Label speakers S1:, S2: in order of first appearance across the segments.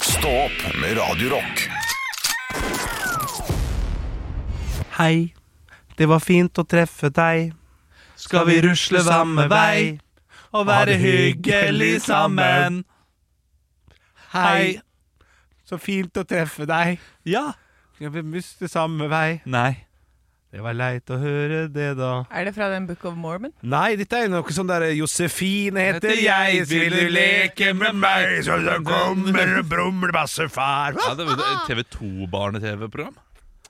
S1: Stå opp med Radio Rock.
S2: Hei, det var fint å treffe deg. Skal vi rusle samme vei og være hyggelig sammen? Hei.
S3: Så fint å treffe deg.
S2: Ja.
S3: Skal vi muste samme vei?
S2: Nei.
S3: Det var leit å høre det, da.
S4: Er det fra den Book of Mormon?
S3: Nei, dette er jo noe sånn derre Josefine heter jeg, vil du leke med meg, så det kommer en brumlebassefar.
S5: Ja, det var et TV 2-barne-TV-program.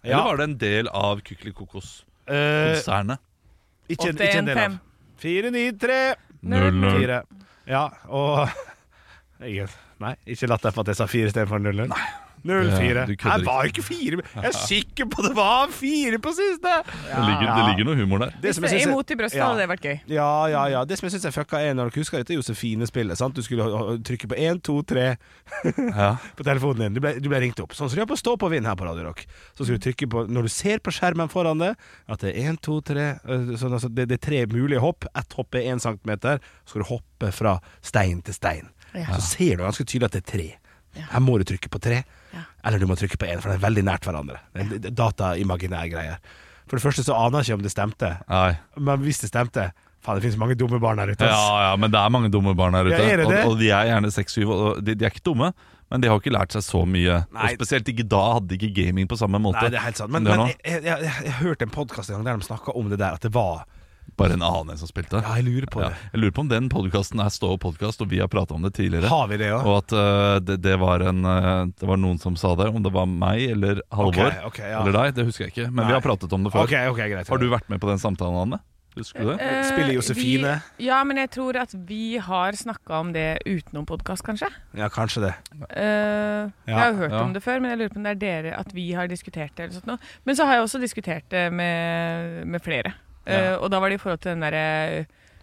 S5: Eller
S3: Ja.
S5: var det en del av Kykeli Kokos-konsernet?
S3: Eh, ikke, en- ikke en del av. 493. Fire. Ja, og Ingen. Nei, ikke latt deg for at jeg sa fire istedenfor null. Nei.
S5: Ja,
S3: 04.
S5: du
S3: Det
S5: kødder
S3: var ikke fire. Jeg er sikker på det var fire på siste!
S5: Det, ligger, det ligger noe humor der.
S3: Det som jeg synes er-
S4: Imot i brøstet
S3: Ja.
S4: hadde det vært gøy.
S3: Ja, ja, ja. Det som jeg syns er fucka, er når dere husker dette Josefine-spillet. sant? Du skulle ha- ha- trykke på 1, 2, 3
S5: Ja.
S3: på telefonen din. Du ble, du ble ringt opp. Sånn som du gjør på Stå på vind her på Radio Rock. Så skulle du trykke på, når du ser på skjermen foran deg, at det er 1, 2, 3 øh, sånn, altså, det, det er tre mulige hopp. Ett hopp er 1 cm. Så skal du hoppe fra stein til stein.
S4: Ja.
S3: Så ser du ganske tydelig at det er tre. Her må du trykke på tre,
S4: Ja.
S3: eller du må trykke på én, for det er veldig nært hverandre. Det er en Dataimaginær greier. For det første så aner jeg ikke om det stemte,
S5: Nei.
S3: men hvis det stemte Faen, det finnes mange dumme barn her ute.
S5: Ja,
S3: ass.
S5: ja, men det er mange dumme barn her ute.
S3: Ja, er det det?
S5: Og, og de er gjerne 6-7. og De, de er ikke dumme, men de har ikke lært seg så mye.
S3: Nei.
S5: Og spesielt ikke da hadde de ikke gaming på samme måte.
S3: Nei, det er helt sant. Men,
S5: Det er
S3: men
S5: nå
S3: jeg, jeg, jeg, jeg hørte en podkast en gang der de snakka om det der, at det var
S5: bare en annen en som spilte.
S3: Ja, jeg lurer på
S5: Ja,
S3: det.
S5: jeg lurer på om den podkasten er Stå opp-podkast, og vi har prata om det tidligere.
S3: Har vi det òg?
S5: Og at eh, det, det, var en, eh, det var noen som sa det, om det var meg eller Halvor
S3: Ok, ok, ja.
S5: eller deg, det husker jeg ikke. Men
S3: Nei.
S5: vi har pratet om det før.
S3: Ok, ok, greit.
S5: Har du vært med på den samtalen, Anne? Husker du det?
S4: Eh,
S3: Spiller Josefine.
S4: Vi, ja, men jeg tror at vi har snakka om det utenom podkast, kanskje.
S3: Ja, kanskje det.
S4: Eh, jeg har jo hørt
S5: ja.
S4: om det før, men jeg lurer på om det er dere at vi har diskutert det. eller sånt noe. Men så har jeg også diskutert det med, med flere. Eh, og da var det i forhold til den derre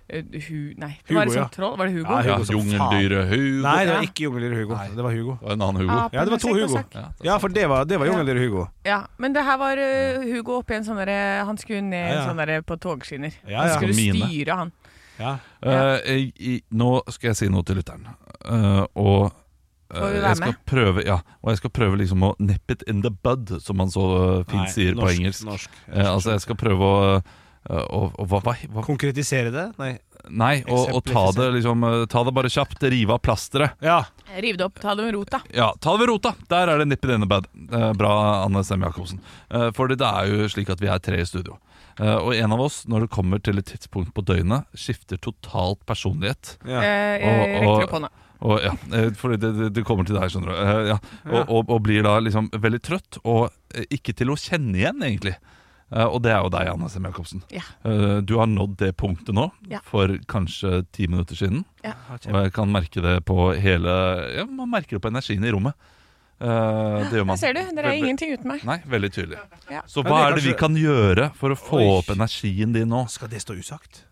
S4: eh, hu... Nei, det var
S3: Hugo,
S4: et
S3: ja.
S4: sånt troll. Var det Hugo?
S5: Ja,
S3: Ja, Eh, Hugo som
S5: Jungeldyret Hugo.
S3: Nei, det var
S4: Ja.
S3: ikke Jungeldyr Hugo. Det var Hugo.
S5: Det var en annen Hugo.
S4: Apen
S3: Ja, det var
S4: med
S3: to
S4: sekk og
S3: Hugo.
S4: sakk.
S5: Ja, det
S3: Ja, for det var, det var Jungeldyr Hugo.
S4: Ja, men det her var eh, Hugo oppi en sånn derre Han skulle ned
S3: Ja, ja.
S4: en sånn derre på togskinner.
S3: Ja,
S4: Han
S3: ja.
S4: skulle
S5: Mine.
S4: styre han.
S3: Ja.
S5: Eh, jeg, i, nå skal jeg si noe til lytteren. Eh, og eh,
S4: Får vi være
S5: jeg skal
S4: med?
S5: prøve Ja, og jeg skal prøve liksom å nip it in the bud, som man så eh, fint
S3: Nei,
S5: sier på
S3: norsk,
S5: engelsk.
S3: norsk.
S5: Eh, altså, jeg skal prøve å, eh, å, å hva, hva, hva,
S3: Konkretisere det? Nei.
S5: Nei, og, og ta det liksom eh, Ta det bare kjapt, rive av plasteret.
S3: Ja.
S4: Riv det opp, ta det med rota.
S5: Ja, ta det ved rota! Der er det nippet inne bad. Eh, bra, Anne Sem Jacobsen. Eh, for det er jo slik at vi er tre i studio. Eh, og en av oss, når det kommer til et tidspunkt på døgnet, skifter totalt personlighet.
S3: Ja.
S4: Eh, jeg
S5: Og- og-
S4: rekker opp hånda.
S5: Og ja, eh, fordi det, det, det kommer til deg, skjønner du. Eh, ja. og, og, og blir da liksom veldig trøtt, og eh, ikke til å kjenne igjen, egentlig. Eh, og det er jo deg, Anne Sem Jacobsen.
S4: Ja.
S5: Eh, du har nådd det punktet nå,
S4: Ja.
S5: for kanskje ti minutter siden.
S4: Ja.
S5: Og jeg kan merke det på hele ja, Man merker det på energien i rommet. Eh, det gjør man.
S4: Der ser du, dere er
S5: Veldig-
S4: ingenting uten meg.
S5: Nei, veldig tydelig.
S4: Ja.
S5: Så
S3: Men
S5: hva
S3: det er
S5: er det vi
S3: kanskje-
S5: kan gjøre for å få
S3: Oi.
S5: opp energien din nå?
S3: Skal det stå usagt?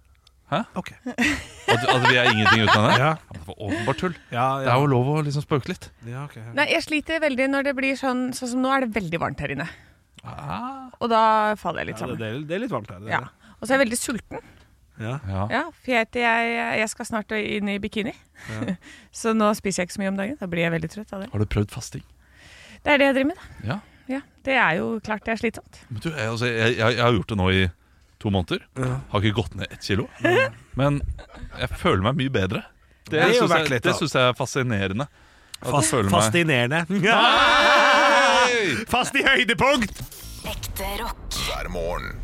S5: Hæ?
S3: Ok.
S5: At, at vi er ingenting uten henne?
S3: Ja.
S5: Det var åpenbart tull.
S3: Ja,
S5: Det
S3: ja.
S5: er jo lov å liksom spøke litt.
S3: ja ok.
S4: Nei, jeg sliter veldig når det blir sånn Sånn som nå er det veldig varmt her inne.
S5: Ah,
S4: Og da faller jeg litt
S3: Ja, det,
S4: sammen.
S3: det, er, det er litt varmt her. Det,
S4: Ja.
S3: er
S4: Og så er jeg veldig sulten.
S3: det.
S5: ja.
S4: Ja, for jeg, jeg, jeg skal snart inn i bikini. så nå spiser jeg ikke så mye om dagen. Da blir jeg veldig trøtt av det.
S5: Har du prøvd fasting?
S4: Det er det jeg driver med, da.
S5: Ja.
S4: Ja, det er jo klart det er slitsomt.
S5: Men du, jeg, altså, jeg, jeg, jeg har gjort det nå i to måneder.
S3: Ja.
S5: Har ikke gått ned ett kilo. Men jeg føler meg mye bedre. Det,
S3: Det er jo
S5: syns
S3: verdt
S5: jeg,
S3: litt,
S5: det
S3: da.
S5: syns jeg er fascinerende. At jeg
S3: Fast,
S5: føler meg-
S3: fascinerende. Fast i høydepunkt!
S6: Ekte rock.
S1: hver morgen.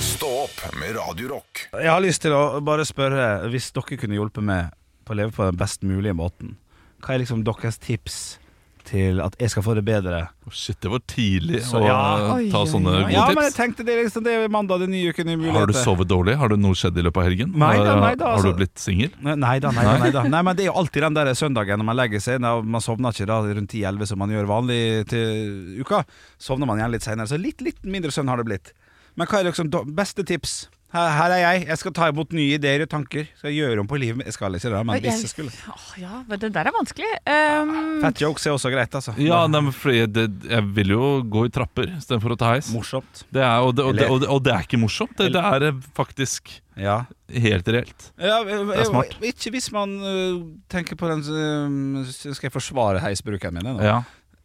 S1: Stå opp med Radio Rock.
S7: Jeg har lyst til å bare spørre, hvis dere kunne hjulpet meg på å leve på den best mulige måten, hva er liksom deres tips til at jeg skal få det bedre?
S5: Å, Shit, det var tidlig
S7: Så
S5: å
S7: ja.
S5: eh, ta sånne gode
S7: Ja, men jeg
S5: tips.
S7: tenkte det er liksom det er mandag, det er nye uken, nye
S5: Har du
S7: muligheter.
S5: sovet dårlig? Har du noe skjedd i løpet av helgen?
S7: Nei da,
S5: Har-
S7: nei da,
S5: Har
S7: altså.
S5: du blitt singel?
S7: Nei da, nei da, nei da. Nei, men det er jo alltid den der søndagen når man legger seg, når man sovner ikke da rundt 10-11 som man gjør vanlig til uka. Sovner man igjen litt senere, så litt, litt mindre søvn har det blitt. Men hva er liksom do- beste tips
S3: Her, her er jeg. Jeg skal ta imot nye ideer og tanker. Skal gjøre om på livet mitt. Jeg skal ikke det, men hvis jeg skulle.
S4: Åh, ja, men det der er vanskelig. Um,
S3: Fat jokes er også greit, altså.
S5: Ja, nei, men fordi det, jeg vil jo gå i trapper istedenfor å ta heis.
S3: Morsomt.
S5: Det er, og, det, og, det, og, det, og det er ikke morsomt. Det, det er eh, faktisk
S3: Ja.
S5: helt reelt.
S3: Ja, det
S5: er smart.
S3: Ikke hvis man øh, tenker på den øh, Skal jeg forsvare heisbruken min? nå?
S5: Ja.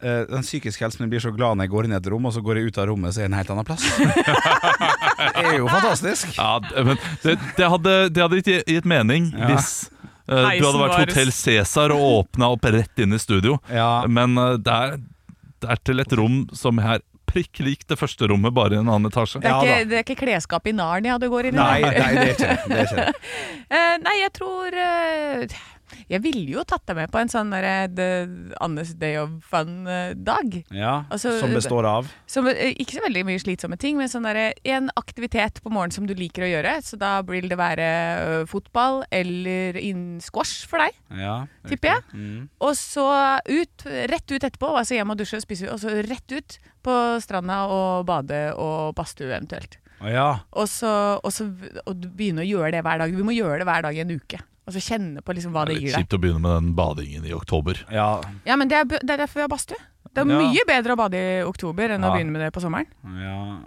S3: Eh, den psykiske helsen min blir så glad når jeg går inn i et rom, og så går jeg ut av rommet, så er jeg en helt annen plass. det er jo fantastisk.
S5: Ja, d- men det, det, hadde, det hadde ikke gitt mening hvis eh, du hadde
S4: Heisen
S5: vært
S4: var-
S5: Hotell Cæsar og åpna opp rett inn i studio.
S3: Ja.
S5: Men eh, det, er, det er til et rom som er prikk lik det første rommet, bare i en annen etasje.
S4: det, er
S3: Ja,
S4: ikke,
S3: da.
S4: det er ikke klesskap i Narnia du går inn i.
S3: Nei,
S4: da.
S3: nei, det er ikke det. det. Er ikke det.
S4: Eh, nei, jeg tror eh, Jeg ville jo tatt deg med på en sånn derre The Annes Day of Fun-dag.
S3: Ja,
S4: Altså,
S3: som består av
S4: Som, eh, ikke så veldig mye slitsomme ting, men sånn der, en aktivitet på morgenen som du liker å gjøre. Så da vil det være eh, fotball eller inn squash for deg,
S3: Ja,
S4: tipper jeg.
S3: mm.
S4: Og så ut, rett ut etterpå, altså hjem og dusje og spise, og så rett ut på stranda og bade og badstue eventuelt.
S3: Å ja.
S4: Og så, og så og du begynne å gjøre det hver dag. Vi må gjøre det hver dag i en uke. Og så kjenne på liksom hva det
S5: litt
S4: gir deg.
S5: kjipt å begynne med den badingen i oktober.
S3: ja.
S4: Ja, men det er, bu- det er derfor vi har badstue. Det er
S3: Ja.
S4: mye bedre å bade i oktober enn å
S3: Ja.
S4: begynne med det på sommeren.
S3: ja.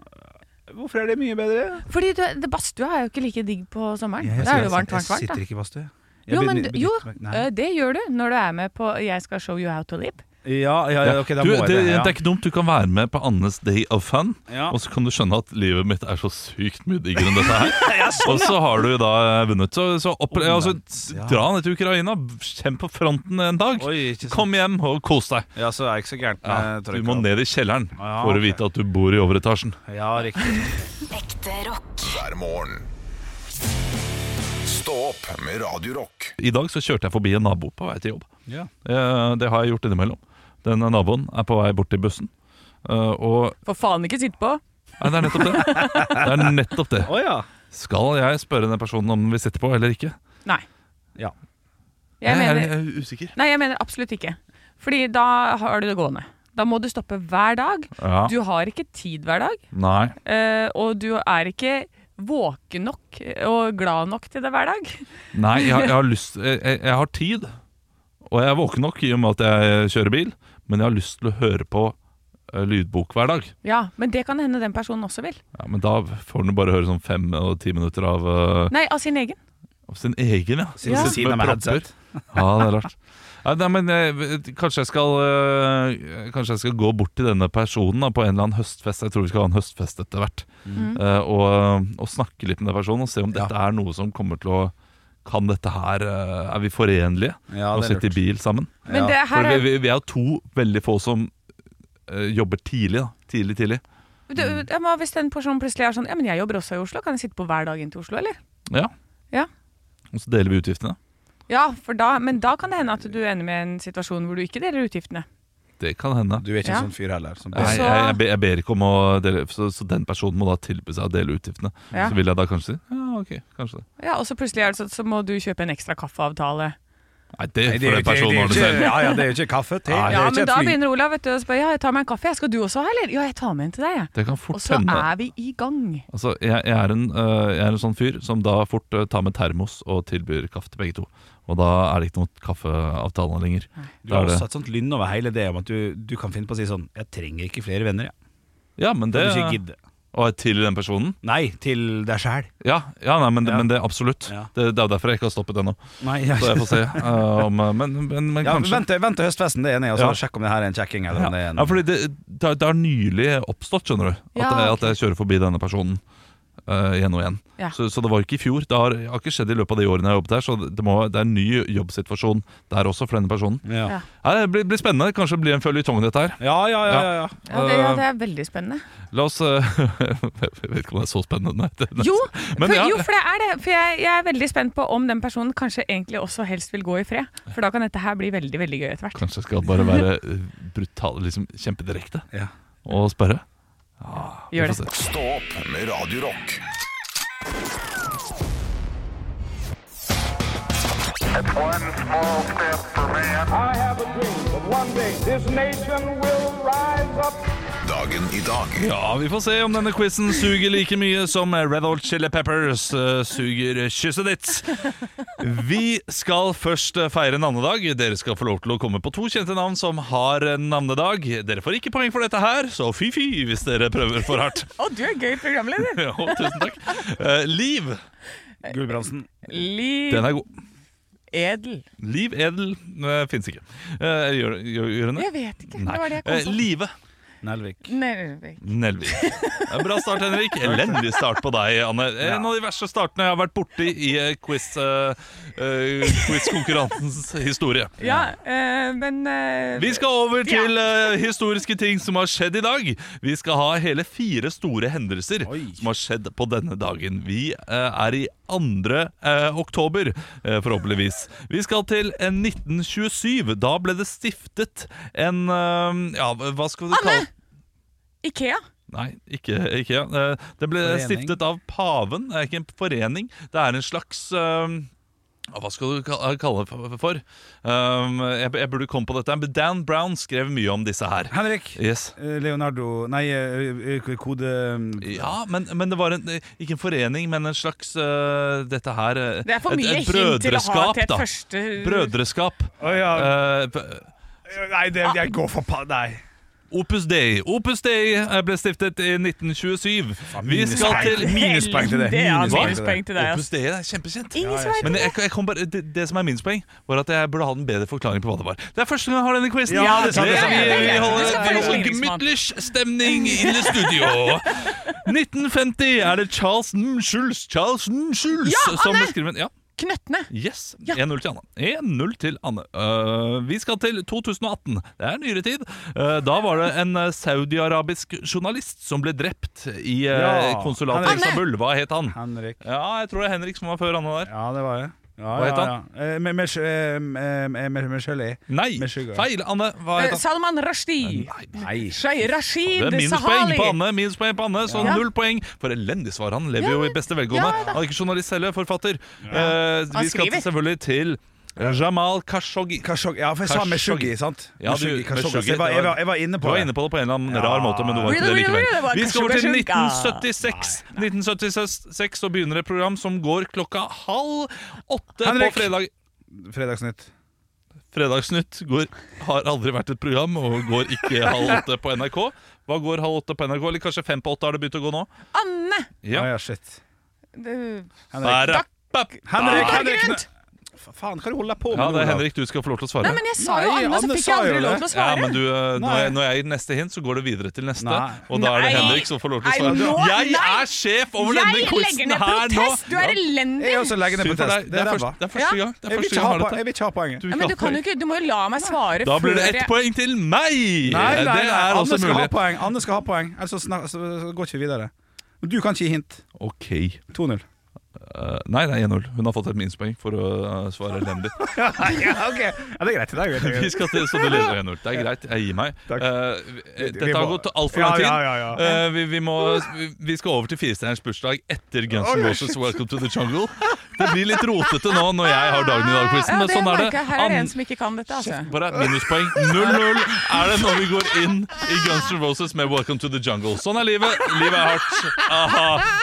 S3: Hvorfor er det mye bedre?
S4: Fordi du, det badstua er jo ikke like digg på sommeren.
S3: Jeg
S4: da er det
S3: sitter-
S4: jo varmt, varmt,
S3: Jeg
S4: varmt.
S3: sitter
S4: Da.
S3: ikke i badstue. Jeg
S4: Jo, men
S3: begynner-
S4: jo,
S3: begynner- nei.
S4: eh, det gjør du når du er med på 'Jeg skal show you how to live'.
S3: Ja, ja, ja, ok, da
S5: du,
S3: må jeg
S5: det,
S3: det. Ja.
S5: det er ikke dumt. Du kan være med på Annes Day of Fun,
S3: Ja.
S5: og så kan du skjønne at livet mitt er så sykt mye diggere enn dette her. Og så har du da eh, vunnet. Så, så opp, ja, altså,
S3: sånn, ja.
S5: dra ned til Ukraina, kjemp på fronten en dag.
S3: Oi, ikke sant.
S5: Kom hjem og kos deg.
S3: Ja, så er jeg ikke så Eh, gærent med
S5: Ja, du
S3: trøkk,
S5: må
S3: da.
S5: ned i kjelleren
S3: Ja,
S5: for å
S3: ok.
S5: vite at du bor i overetasjen.
S3: Ja, riktig.
S6: Ekte rock.
S1: hver morgen. Stå opp med Radio Rock.
S5: I dag så kjørte jeg forbi en nabo på vei til jobb.
S3: Ja.
S5: Eh, Det har jeg gjort innimellom. Den naboen er på vei bort til bussen. Eh, Og
S4: For faen ikke sitte på!
S5: Nei, det er nettopp det. Det er nettopp det.
S3: Å ja.
S5: Skal jeg spørre den personen om vi sitter på eller ikke?
S4: Nei.
S3: Ja.
S4: Jeg
S5: Jeg er-
S4: mener,
S5: jeg er usikker.
S4: nei, jeg mener absolutt ikke. Fordi da har du det gående. Da må du stoppe hver dag.
S5: Ja.
S4: Du har ikke tid hver dag,
S5: Nei.
S4: eh, og du er ikke våken nok eh, og glad nok til det hver dag.
S5: Nei, jeg, jeg har lyst jeg, jeg, jeg har tid, og jeg er våken nok i og med at jeg kjører bil, men jeg har lyst til å høre på eh, lydbok hver dag.
S4: Ja, Men det kan hende den personen også vil.
S5: Ja, Men da får den jo bare høre sånn fem og ti minutter av, eh,
S4: Nei, av sin egen.
S5: av sin egen, ja.
S3: Siden
S4: Ja.
S3: Siden med headset.
S5: Ja, det er rart. Nei, nei, men eh, kanskje, jeg skal, eh, kanskje jeg skal gå bort til denne personen da, på en eller annen høstfest. Jeg tror vi skal ha en høstfest etter hvert.
S4: Mm.
S5: Eh, og, og snakke litt med den personen og se om
S3: Ja.
S5: dette er noe som kommer til å Kan dette her eh, Er vi forenlige?
S3: Ja,
S5: å
S3: det er
S5: sitte i
S3: lurt.
S5: bil sammen?
S4: Men
S3: Ja,
S4: det her
S5: For vi,
S4: er,
S5: vi, vi er jo to veldig få som eh, jobber tidlig. da Tidlig, tidlig.
S4: du, ja, men Hvis den personen plutselig er sånn Ja, men jeg jobber også i Oslo, kan jeg sitte på hver dag inn til Oslo, eller?
S5: Ja.
S4: Ja.
S5: Og så deler vi utgiftene.
S4: Ja, for da, men da kan det hende at du ender med en situasjon hvor du ikke deler utgiftene.
S5: Det kan hende.
S3: Du er ikke
S4: Ja.
S3: en sånn fyr heller. Som
S5: Nei,
S4: så-
S5: jeg, jeg, be- jeg ber ikke om å dele så, så den personen må da tilby seg å dele utgiftene.
S4: Ja.
S5: Så vil jeg da kanskje si ja, ok, kanskje det.
S4: Ja, Og så plutselig er det sånn, så må du kjøpe en ekstra kaffeavtale.
S5: Nei, det
S3: Nei, det
S5: får den
S3: er jo ikke,
S5: personen
S3: det er
S5: ordne
S3: jo ikke,
S5: selv.
S3: ja, ja, det er jo ikke kaffe, te.
S5: Nei,
S3: det er
S4: Ja,
S3: jo ikke
S4: men
S3: et
S4: da
S3: fly.
S4: begynner Olav vet du, og spør ja, jeg tar meg en kaffe. Jeg skal du også ha, eller? Ja, jeg tar med en til deg, jeg.
S5: Det kan fort
S4: Og så
S5: hende.
S4: er vi i gang.
S5: Altså, jeg, jeg, er en, øh, jeg er en sånn fyr som da fort øh, tar med termos og tilbyr kaffe til begge to. Og da er det ikke noen kaffeavtale lenger.
S3: Du
S5: Da
S3: har
S5: er
S3: også
S5: det.
S3: et sånt lynn over hele det om at du, du kan finne på å si sånn Jeg trenger ikke flere venner, jeg.
S5: Ja, men
S3: Det
S5: det
S3: du ikke gidder.
S5: Og til den personen?
S3: Nei, til deg sjæl.
S5: Ja, ja nei, men, det-
S3: Ja.
S5: men det absolutt.
S3: Ja.
S5: Det, det er jo derfor jeg ikke har stoppet ennå.
S3: Nei, ja.
S5: Så jeg får se øh, om øh, Men, men, men
S3: Ja,
S5: kanskje.
S3: vent, til- vent til høstfesten det er enig, og så
S5: Ja.
S3: sjekk om det her er en kjekking. Eller
S5: Ja,
S3: om det er en,
S5: ja fordi det, det, det har nylig oppstått, skjønner du. At,
S4: Ja,
S5: jeg,
S4: ok.
S5: at jeg kjører forbi denne personen eh, igjen og igjen.
S4: Ja.
S5: Så, så det var ikke i fjor. Det har, har ikke skjedd i løpet av de årene jeg har jobbet her, så det, må, det er en ny jobbsituasjon der også for denne personen.
S3: ja.
S4: Ja.
S5: Ja, det blir, blir spennende. Kanskje det blir en føljetong, dette her.
S3: Ja, ja, ja, ja, ja.
S4: Ja, det, ja, det er veldig spennende.
S5: La oss eh, Jeg vet ikke om det er så spennende. Nei, det,
S4: Jo,
S5: Men
S4: for,
S5: ja.
S4: jo, for det er det. For jeg, jeg er veldig spent på om den personen kanskje egentlig også helst vil gå i fred. For da kan dette her bli veldig, veldig gøy etter hvert.
S5: Kanskje jeg skal bare være eh, brutal, liksom kjempedirekte
S3: Ja.
S5: og spørre. Ja, vi
S4: Gjør
S5: får se.
S1: Stå opp med Radio Rock.
S8: I have a dream that one day this nation will
S1: Dagen i dag.
S5: Ja, vi får se om denne quizen suger like mye som Red Old Chili Peppers eh, suger kysset ditt. Vi skal først eh, feire navnedag. Dere skal få lov til å komme på to kjente navn som har eh, navnedag. Dere får ikke poeng for dette her, så fy-fy hvis dere prøver for hardt.
S4: Å, du er gøy programleder!
S5: Jo, tusen takk. Eh, Liv,
S9: Gulbrandsen.
S4: Liv
S5: den er god.
S4: Edel.
S5: Liv Edel uh, fins ikke. Eh, gjør, gjør, gjør den det?
S4: Jeg vet ikke. Det var det jeg
S5: Eh,
S4: kom på.
S5: Live
S9: Nelvik.
S4: Nervik.
S5: Nelvik. Det er en Bra start, Henrik. Elendig start på deg, Anne. Eh, En av de verste startene jeg har vært borti i eh, quiz, eh, eh, quiz-konkurransens historie.
S4: Ja, eh, men eh,
S5: Vi skal over til eh, historiske ting som har skjedd i dag. Vi skal ha hele fire store hendelser som har skjedd på denne dagen. Vi eh, er i 2. eh, oktober, eh, forhåpentligvis. Vi skal til eh, 1927. Da ble det stiftet en eh, Ja, hva skal du kalle
S4: Ikea.
S5: Nei, ikke IKEA. Eh, Det ble
S9: Forening.
S5: stiftet av paven. Det er ikke en forening. Det er en slags eh, Hva skal du ka- kalle det for? Um, jeg, jeg burde komme på dette. Men Dan Brown skrev mye om disse her.
S9: Henrik.
S5: Yes.
S9: Eh, Leonardo Nei, eh, eh, kode mm.
S5: Ja, men, men det var en, ikke en forening, men en slags eh, Dette her eh,
S4: Det er for mye
S5: et, et
S4: hint til å ha
S5: brødreskap,
S4: til et
S5: da.
S4: første
S5: Brødreskap.
S9: Å ja.
S5: Eh, p-
S9: Nei, det, jeg går for pa... Nei.
S5: Opus Dei. Opus Dei eh, ble stiftet i 1927. Vi skal
S9: minuspoeng.
S5: til
S9: Minuspoeng til det.
S4: Det er
S9: Minuspoeng til det.
S4: minuspoeng til deg. ass.
S5: Opus Dei er kjempekjent.
S4: Ingen som
S5: Men
S4: vet
S5: jeg, jeg kom bare, det, det som er minst poeng, var at jeg burde ha en bedre forklaring på hva det var. Det er første gang jeg har denne quizen!
S9: Ja, det er sant, det er sant.
S5: vi,
S9: Det
S5: vi
S9: er greit.
S4: Vi
S5: holder,
S4: skal
S5: vi
S4: følge
S5: holder
S4: ligningsmann.
S5: gemytlish stemning i det studio. 1950 er det Charles N. Schulz, Charles N. Schulz
S4: Ja,
S5: som
S4: Anne!
S5: beskriver en- ja,
S4: Knøttene.
S5: Yes,
S4: Ja.
S5: 1-0 til Anne. 1-0 til Anne. Øh, vi skal til 2018. Det er nyere tid. Øh, da var det en øh, saudiarabisk journalist som ble drept i øh,
S9: Ja.
S5: konsulatet i
S9: Henrik.
S5: Istanbul. Hva het han?
S9: Henrik.
S5: Ja, jeg tror det er Henrik som var før Anne der.
S9: Ja, det var jeg. Ja,
S5: Hva het
S9: ja,
S5: han?
S9: Ja. Eh, Med, med, eh, med, med, med, med gelé.
S5: Nei,
S9: Med sugar.
S5: feil, Anne. Hva
S4: Eh,
S5: het han?
S4: Salman Rushdie.
S9: Nei.
S4: Shay Rashid
S5: Det er minuspoeng
S4: Sahali.
S5: på Anne, minuspoeng på Anne så
S4: Ja.
S5: null poeng. For elendig svar. Han lever jo i beste velgående. han er ikke journalist heller, forfatter. Eh,
S4: Han
S5: vi skal
S4: skriver.
S5: til, selvfølgelig til eh, Jamal Khashoggi.
S9: Khashoggi. Ja, for jeg sa
S5: Khashoggi.
S9: Meshuggi, sant?
S5: Ja, du-
S9: Meshuggi, Khashoggi.
S5: Meshuggi,
S9: Så Jeg, var, jeg, var, jeg var inne
S5: Du
S9: på
S5: var
S9: det.
S5: inne på det på en eller annen rar måte, men det var ikke det
S4: Really, really, really, det
S5: likevel.
S4: var
S5: Vi skal over til
S4: Khashoggi.
S5: 1976. 1976 så begynner et program som går klokka halv åtte
S9: Henrik.
S5: på fredag.
S9: Fredagsnytt.
S5: Fredagsnytt går, har aldri vært et program og går ikke halv åtte på NRK. Hva går halv åtte på NRK? Eller kanskje fem på åtte har det begynt å gå nå?
S4: Anne.
S5: Ja.
S9: Ah, ja, shit.
S4: Det-
S9: Henrik.
S5: Bare-
S9: Henrik,
S4: Henrik
S9: Henrik,
S4: Grønt.
S9: ne- Fa- Faen, hva er det du holder på med?
S5: Ja,
S9: nå,
S5: det er
S9: da?
S5: Henrik, du skal få lov til å svare.
S4: Nei, men jeg sa jo
S9: Nei,
S4: Anne, så
S9: Anne
S4: fikk
S9: sa
S4: jeg aldri
S9: jo
S4: lov
S9: det.
S4: til å
S5: Ja,
S4: svare.
S5: men du, eh, når,
S9: Nei.
S5: jeg, når jeg gir neste hint, så går det videre til neste.
S9: Nei.
S5: Og da er det
S4: Nei.
S5: Henrik som får lov til å
S4: Nei,
S5: svare.
S4: nå-
S5: jeg
S4: nei.
S5: er sjef over
S4: Jeg
S5: denne
S4: legger
S5: quizen
S4: ned
S5: her nå!
S4: protest! Du er elendig!
S9: Jeg
S3: altså,
S9: også legger ned
S5: Synd for deg.
S9: protest.
S5: Det er
S9: ræva.
S5: først- det er første
S4: Ja.
S5: gang Det er
S9: Jeg vil
S5: første
S9: ikke
S5: gang
S9: ha
S5: jeg har
S9: po- jeg
S5: dette.
S9: vil ikke ha poenget.
S5: Du
S4: Ja,
S5: vil
S4: men
S5: ikke ha
S4: du kan jo
S5: poeng.
S4: ikke Du må jo la meg svare
S5: Da blir det
S4: før
S5: ett
S4: jeg-
S5: poeng til meg!
S9: Nei, nei,
S5: Det
S9: nei.
S5: er
S9: Anne
S5: også
S9: skal ha
S5: mulig.
S9: poeng, Anne skal ha poeng. Ellers
S3: Altså,
S9: så, snak, så så går ikke vi videre. Men Du kan ikke gi hint.
S5: Ok.
S9: 2-0.
S5: Eh, nei, det er 1-0. Hun har fått et minuspoeng for å eh, svare elendig.
S9: ja, ok. Ja, det er greit. Det er greit. Det er
S5: Vi
S9: greit.
S5: skal til så det leder 1-0. Det er greit, jeg gir meg.
S9: Takk.
S5: Eh, vi-
S9: Vi
S5: dette har
S9: må-
S5: gått altfor
S9: Ja,
S5: lang tid.
S9: ja, ja, ja.
S5: Eh, vi, vi, må, vi- vi skal over til Firestjerners bursdag etter Guns N' Roses' Welcome to the Jungle. Det blir litt rotete nå når jeg har dagen i dag-quizen,
S4: Ja,
S5: men
S4: det
S5: sånn er
S4: merker
S5: det.
S4: jeg. Her er det en
S5: An
S4: som ikke kan dette, altså.
S5: bare minuspoeng. 0-0 er det når vi går inn i Guns N' Roses med Welcome to the Jungle. Sånn er livet. Livet er hardt. Aha.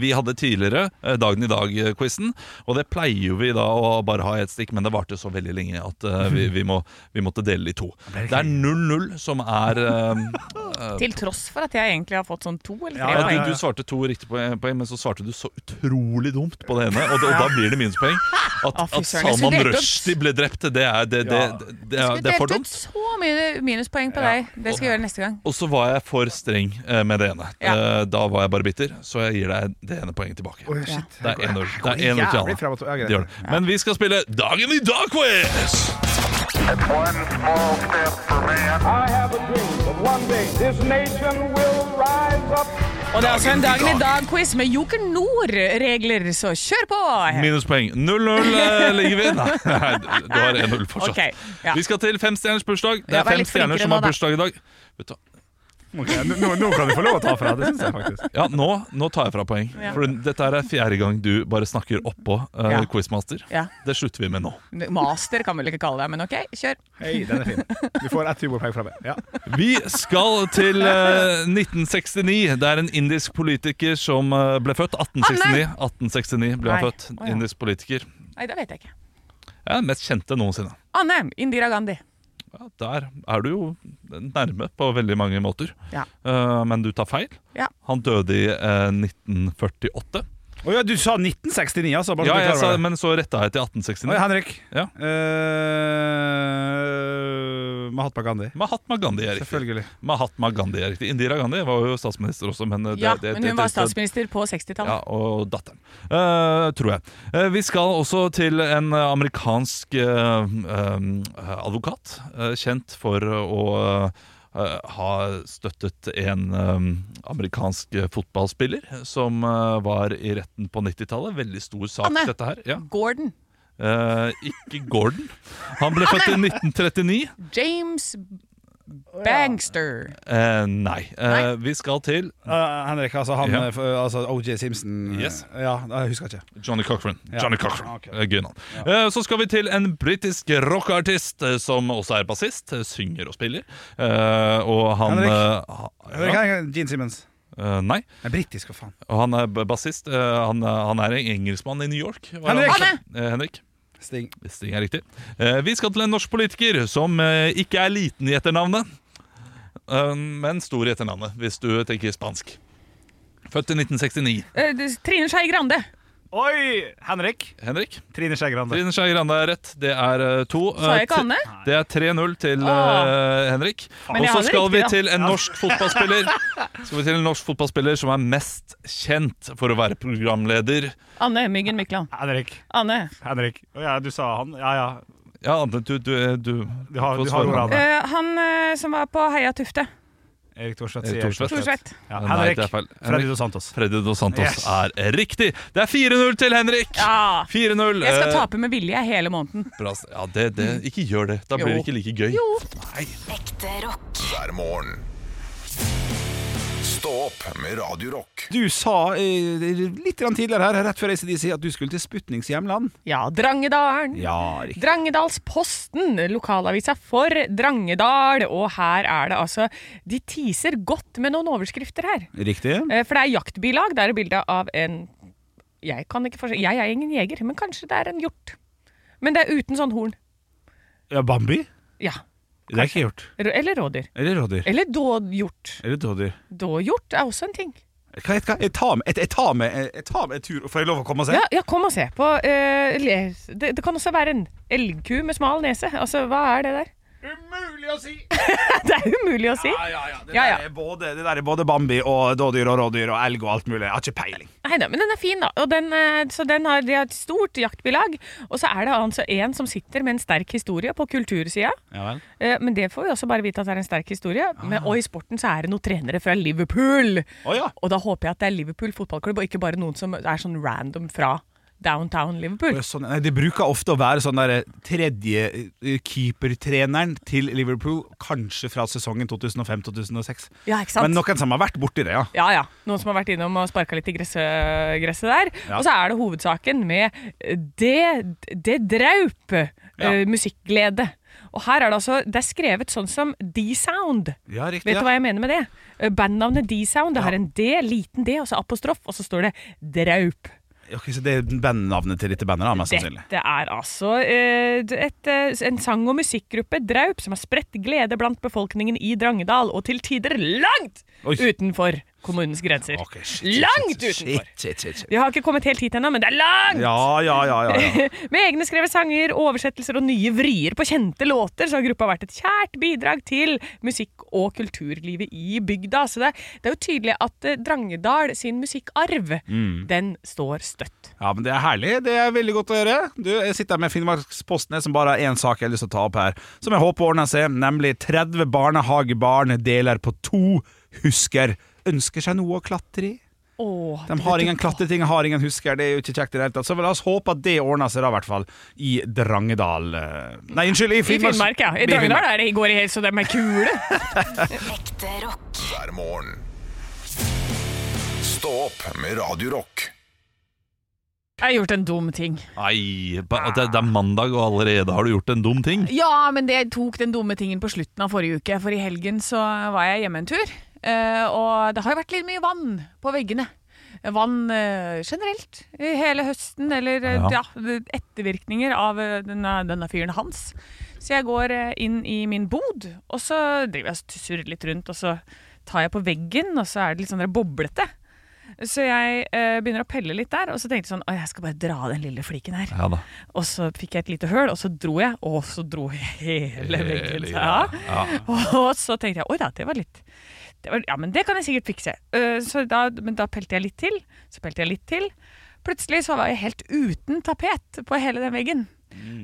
S5: Vi hadde tidligere eh, Dagen i dag-quizen, og det pleier jo vi da å bare ha i ett stikk, men det varte så veldig lenge at eh, vi, vi, må, vi måtte dele i to. Det er 0-0 som er eh, eh,
S4: Til tross for at jeg egentlig har fått sånn to eller tre
S9: Ja,
S5: ja,
S4: poeng.
S5: du, du svarte to riktige poeng, poeng, men så svarte du så utrolig dumt på det ene. Og, da- og da blir det minuspoeng. At,
S4: Å, fy
S5: at
S4: søren,
S5: Salman
S4: jeg studerte opp.
S5: Rushdie ble drept, det er, det, det, det, det,
S4: Du
S5: er, det er for
S4: delte ut
S5: dumt.
S4: så mye minuspoeng på deg. Det skal jeg gjøre neste gang.
S5: Og så var jeg for streng eh, med det ene.
S4: Ja.
S5: Eh, Da var jeg bare bitter, så jeg gir deg det ene poenget tilbake.
S9: Oi, shit.
S5: Det er 1-0 Det er 1-0 til
S9: Jævlig
S5: Anna.
S9: frem og til- ja, greit.
S5: Det gjør det. Men vi skal spille Dagen i dag-quiz!
S8: I have a dream that one day this nation will rise up.
S4: Og det er altså en Dagen
S1: Dagen i
S4: i
S1: dag.
S4: dag-quiz med Joker Nord-regler, så kjør på!
S5: Minuspoeng. 0-0 eh, ligger vi. Nei, nei, du har 1-0 fortsatt.
S4: Ok, ja.
S5: Vi skal til femstjerners bursdag. Det
S4: Ja,
S5: er
S4: vær
S5: fem
S4: litt flinkere
S5: stjerner som
S4: nå,
S5: har
S4: da.
S5: bursdag i dag. Vet du hva?
S3: nå, nå kan du få lov å ta fra. Det syns jeg faktisk.
S5: Ja, nå, nå tar jeg fra poeng.
S4: Ja.
S5: For dette her er fjerde gang du bare snakker oppå eh,
S4: Ja.
S5: Quizmaster.
S4: Ja.
S5: Det slutter vi med nå.
S4: Master kan vi vel ikke kalle det, men ok, kjør.
S3: Hei, den er fin. Du får ett humorpoeng fra meg. Ja.
S5: Vi skal til eh, 1969. Det er en indisk politiker som eh, ble født. 1869 1869 ble han
S4: Nei.
S5: født.
S4: Å, ja.
S5: Indisk politiker.
S4: Nei, det vet jeg ikke.
S5: Ja, den mest kjente noensinne.
S4: Anne, Indira Gandhi.
S5: Ja, der er du jo nærme på veldig mange måter.
S4: Ja.
S5: Eh, men du tar feil.
S4: Ja.
S5: Han døde i eh, 1948.
S3: Å ja, du sa 1969, altså. Bare så
S5: Ja,
S3: du er
S5: jeg
S3: klar
S5: sa,
S3: over det.
S5: men så retta jeg til 1869.
S3: Oi, Henrik.
S5: Ja.
S3: Eh, Mahatma Gandhi.
S5: Mahatma Gandhi er riktig.
S3: Selvfølgelig.
S5: Mahatma Gandhi er riktig. Indira Gandhi var jo statsminister også, men eh, det,
S4: Ja,
S5: det,
S4: men
S5: det-
S4: hun var
S5: det- det-
S4: statsminister på 60-tallet.
S5: Ja, og datteren. Eh, tror jeg. Eh, vi skal også til en eh, amerikansk eh, eh, advokat, eh, kjent for å eh, ha støttet en eh, amerikansk fotballspiller som eh, var i retten på 90-tallet. Veldig stor sak,
S4: Anne.
S5: dette her. Ja.
S4: Gordon.
S5: Eh, ikke Gordon. Han ble født i 1939.
S4: James Bangster.
S5: Eh, nei. Eh, vi skal til
S3: Eh, Henrik, altså han
S5: Ja.
S3: eh, for- altså OJ Simpson. eh,
S5: Yes.
S3: Ja, jeg husker ikke.
S5: Johnny Cochran. Johnny Cochran.
S3: Ah, ok.
S5: Eh, Gøy navn. Eh, Så skal vi til en britisk rockeartist eh, som også er bassist, eh, synger og spiller. Eh, Og han
S3: Henrik.
S5: eh, ha-
S3: Henrik,
S5: ja,
S3: Henrik, Gene Simmons.
S5: eh, Nei,
S3: Nei, britisk, hva faen.
S5: og han er b- bassist. Eh, Han, eh, han er en engelskmann i New York. var han.
S3: Henrik.
S5: Eh, Henrik.
S3: Sting.
S5: Sting er riktig. Eh, Vi skal til en norsk politiker som eh, ikke er liten i etternavnet, eh, men stor i etternavnet, hvis du tenker spansk. Født i 1969.
S4: Eh, Trine Skei Grande.
S3: Oi! Henrik.
S5: Henrik?
S3: Trine Skei Grande.
S5: Trine Skei Grande er rett. Det er eh, to.
S4: Sa jeg
S5: Eh,
S4: ikke Anne?
S5: Det er 3-0 til
S4: Åh.
S5: eh, Henrik.
S4: Men
S5: Og
S4: jeg
S5: så
S4: hadde
S5: skal
S4: riktig,
S5: vi
S4: da.
S5: til en norsk fotballspiller Skal vi til en norsk fotballspiller som er mest kjent for å være programleder.
S4: Anne Myggen Mykland.
S3: Henrik.
S4: Anne.
S3: Henrik. Å ja, du sa han. Ja, ja.
S5: Ja, Anne, du, du, du,
S3: Du har,
S5: får
S3: du har
S5: svare.
S3: ordet, Anne.
S4: Eh, han eh, som var på Heia Tufte.
S3: Erik Thorstvedt.
S5: Erik
S3: sier Erik
S5: Thorstvedt.
S4: Thorsvedt.
S3: Ja,
S5: Nei,
S3: Henrik.
S5: det er feil.
S3: Freddy Dos Santos.
S5: Freddy Dos Santos
S3: Yes.
S5: er riktig. Det er 4-0 til Henrik!
S4: Ja.
S5: 4-0.
S4: Jeg skal
S5: eh,
S4: tape med vilje hele måneden.
S5: bra. Ja, det, det. Ikke gjør det. Da blir det ikke like gøy.
S6: Ekte rock.
S1: hver morgen. Stå opp med Radio Rock.
S3: Du sa eh, litt grann tidligere her, rett før ACDC, at du skulle til Sputniks hjemland.
S4: Ja, Drangedalen.
S3: Ja, riktig.
S4: Drangedalsposten, lokalavisa for Drangedal. Og her er det altså De teaser godt med noen overskrifter her.
S3: Riktig.
S4: Eh, For det er jaktbilag. Det er et bilde av en Jeg kan ikke forskjell. Jeg er ingen jeger, men kanskje det er en hjort. Men det er uten sånn horn.
S3: Ja, Bambi?
S4: Ja.
S3: Det er ikke hjort.
S4: Rå- Eller rådyr.
S3: Eller rådyr.
S4: Eller dåhjort.
S3: Eller dådyr.
S4: Dåhjort er også en ting.
S3: Hva heter det? Jeg tar med- Jeg jeg tar med jeg tar med en tur. Får jeg lov å komme og se?
S4: Ja, ja kom og se på. eh, les- det, det kan også være en elgku med smal nese. Altså, hva er det der?
S3: Umulig å si!
S4: Det er umulig å si.
S3: Ja, ja, ja. Det,
S4: Ja, ja.
S3: Der er både, det der er både Bambi og dådyr og rådyr og elg og alt mulig. Jeg har ikke peiling.
S4: Nei da, men den er fin, da. Og den, eh, så den har, de har et stort jaktbilag. Og så er det altså en som sitter med en sterk historie på kultursida.
S3: Ja vel.
S4: Eh, Men det får vi også bare vite at det er en sterk historie.
S3: Ah.
S4: Men, og i sporten så er det noen trenere fra Liverpool.
S3: Å ja.
S4: Og da håper jeg at det er Liverpool fotballklubb, og ikke bare noen som er sånn random fra downtown Liverpool.
S3: Sånn, nei, det bruker ofte å være sånn der tredje eh, keepertreneren til Liverpool, kanskje fra sesongen 2005-2006.
S4: Ja, ikke sant?
S3: Men noen som har vært borti det, ja.
S4: Ja, ja. Noen som har vært innom og sparka litt i gresset, gresset der.
S3: Ja.
S4: Og så er det hovedsaken med Det, det draup eh, musikkglede. Og her er det altså Det er skrevet sånn som D-sound.
S3: Ja, riktig.
S4: Vet
S3: ja.
S4: du hva jeg mener med det? Eh, Bandnavnet D-sound, det har en D, liten D, og så apostrof, og så står det draup.
S3: Ok, så det er bandnavnet til dette bandet, da, mest sannsynlig.
S4: Dette er altså eh, et, eh, en sang- og musikkgruppe, Draup, som har spredt glede blant befolkningen i Drangedal, og til tider langt
S3: Oi.
S4: utenfor kommunens grenser.
S3: Ok, shit, shit, shit,
S4: langt utenfor!
S3: Shit, shit, shit, shit.
S4: Vi har ikke kommet helt hit ennå, men det er langt!
S3: Ja, ja, ja, ja, ja.
S4: Med egne skrevet sanger, oversettelser og nye vrier på kjente låter, så har gruppa vært et kjært bidrag til musikk- og kulturlivet i bygda. Så det, det er jo tydelig at eh, Drangedal sin musikkarv,
S3: Mm.
S4: den står støtt.
S3: ja men det er herlig. Det er veldig godt å gjøre. Du, jeg sitter her med Finnmarksposten, jeg, som bare har én sak jeg har lyst til å ta opp her, som jeg håper ordner seg, nemlig 30 barnehagebarn deler på to husker ønsker seg noe å klatre i.
S4: Å, Åh,
S3: De har ingen klatreting, har ingen husker. Det er jo ikke kjekt i det hele tatt. Så la oss håpe at det ordner seg, da, i hvert fall. I Drangedal eh, Nei, unnskyld, i
S4: I
S3: Finnmark.
S4: Finnmark, ja. I Drangedal er det i går i helst, så de er kule.
S6: Ekte rock.
S1: hver morgen. Stå opp med Radio Rock.
S4: Jeg har gjort en dum ting.
S5: Nei, ba- det, det er mandag, og allerede har du gjort en dum ting.
S4: Ja, men det tok den dumme tingen på slutten av forrige uke, for i helgen så var jeg hjemme en tur. eh, Og det har jo vært litt mye vann på veggene. Vann eh, generelt i hele høsten, eller eh, ja.
S5: Ja.
S4: ettervirkninger av eh, denne, denne fyren hans. Så jeg går eh, inn i min bod, og så driver jeg og surrer litt rundt, og så tar jeg på veggen, og så er det litt sånn der boblete. Så jeg eh, begynner å pelle litt der, og så tenkte jeg sånn Å, jeg skal bare dra av den lille fliken her.
S5: Ja da.
S4: Og så fikk jeg et lite høl, og så dro jeg, og så dro hele veggen.
S5: Hele
S4: Ja.
S5: greia. Ja.
S4: Og så tenkte jeg oi da, det var litt det var, Ja, men det kan jeg sikkert fikse. Eh, så da, men da pelte jeg litt til, så pelte jeg litt til. Plutselig så var jeg helt uten tapet på hele den veggen.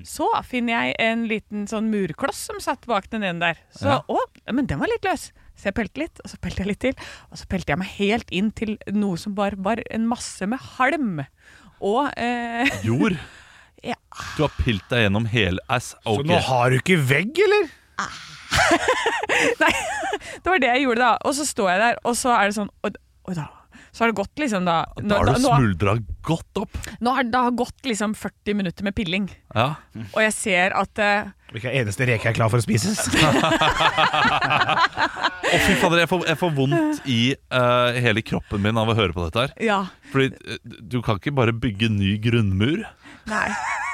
S4: Så finner jeg en liten sånn murkloss som satt bak den ene der. Så å, men den var litt løs. Så jeg pelte litt, og så pelte jeg litt til. Og så pelte jeg meg helt inn til noe som bare var en masse med halm. Og eh,
S5: Jord.
S4: Ja.
S5: Du har pilt deg gjennom hele ass.
S3: Så nå har du ikke vegg, eller?
S4: Det var det jeg gjorde da. Og så står jeg der, og så er det sånn Oi oi da. Så har det gått liksom da Nå,
S5: Da har du
S4: nå,
S5: smuldra godt opp.
S4: nå har det har gått liksom 40 minutter med pilling,
S5: Ja.
S4: og jeg ser at eh,
S3: Hvilken eneste reke er klar for å spises?
S5: Å, fy fader, jeg får, jeg får vondt i eh, hele kroppen min av å høre på dette her.
S4: Ja.
S5: Fordi eh, du kan ikke bare bygge ny grunnmur.
S4: Nei.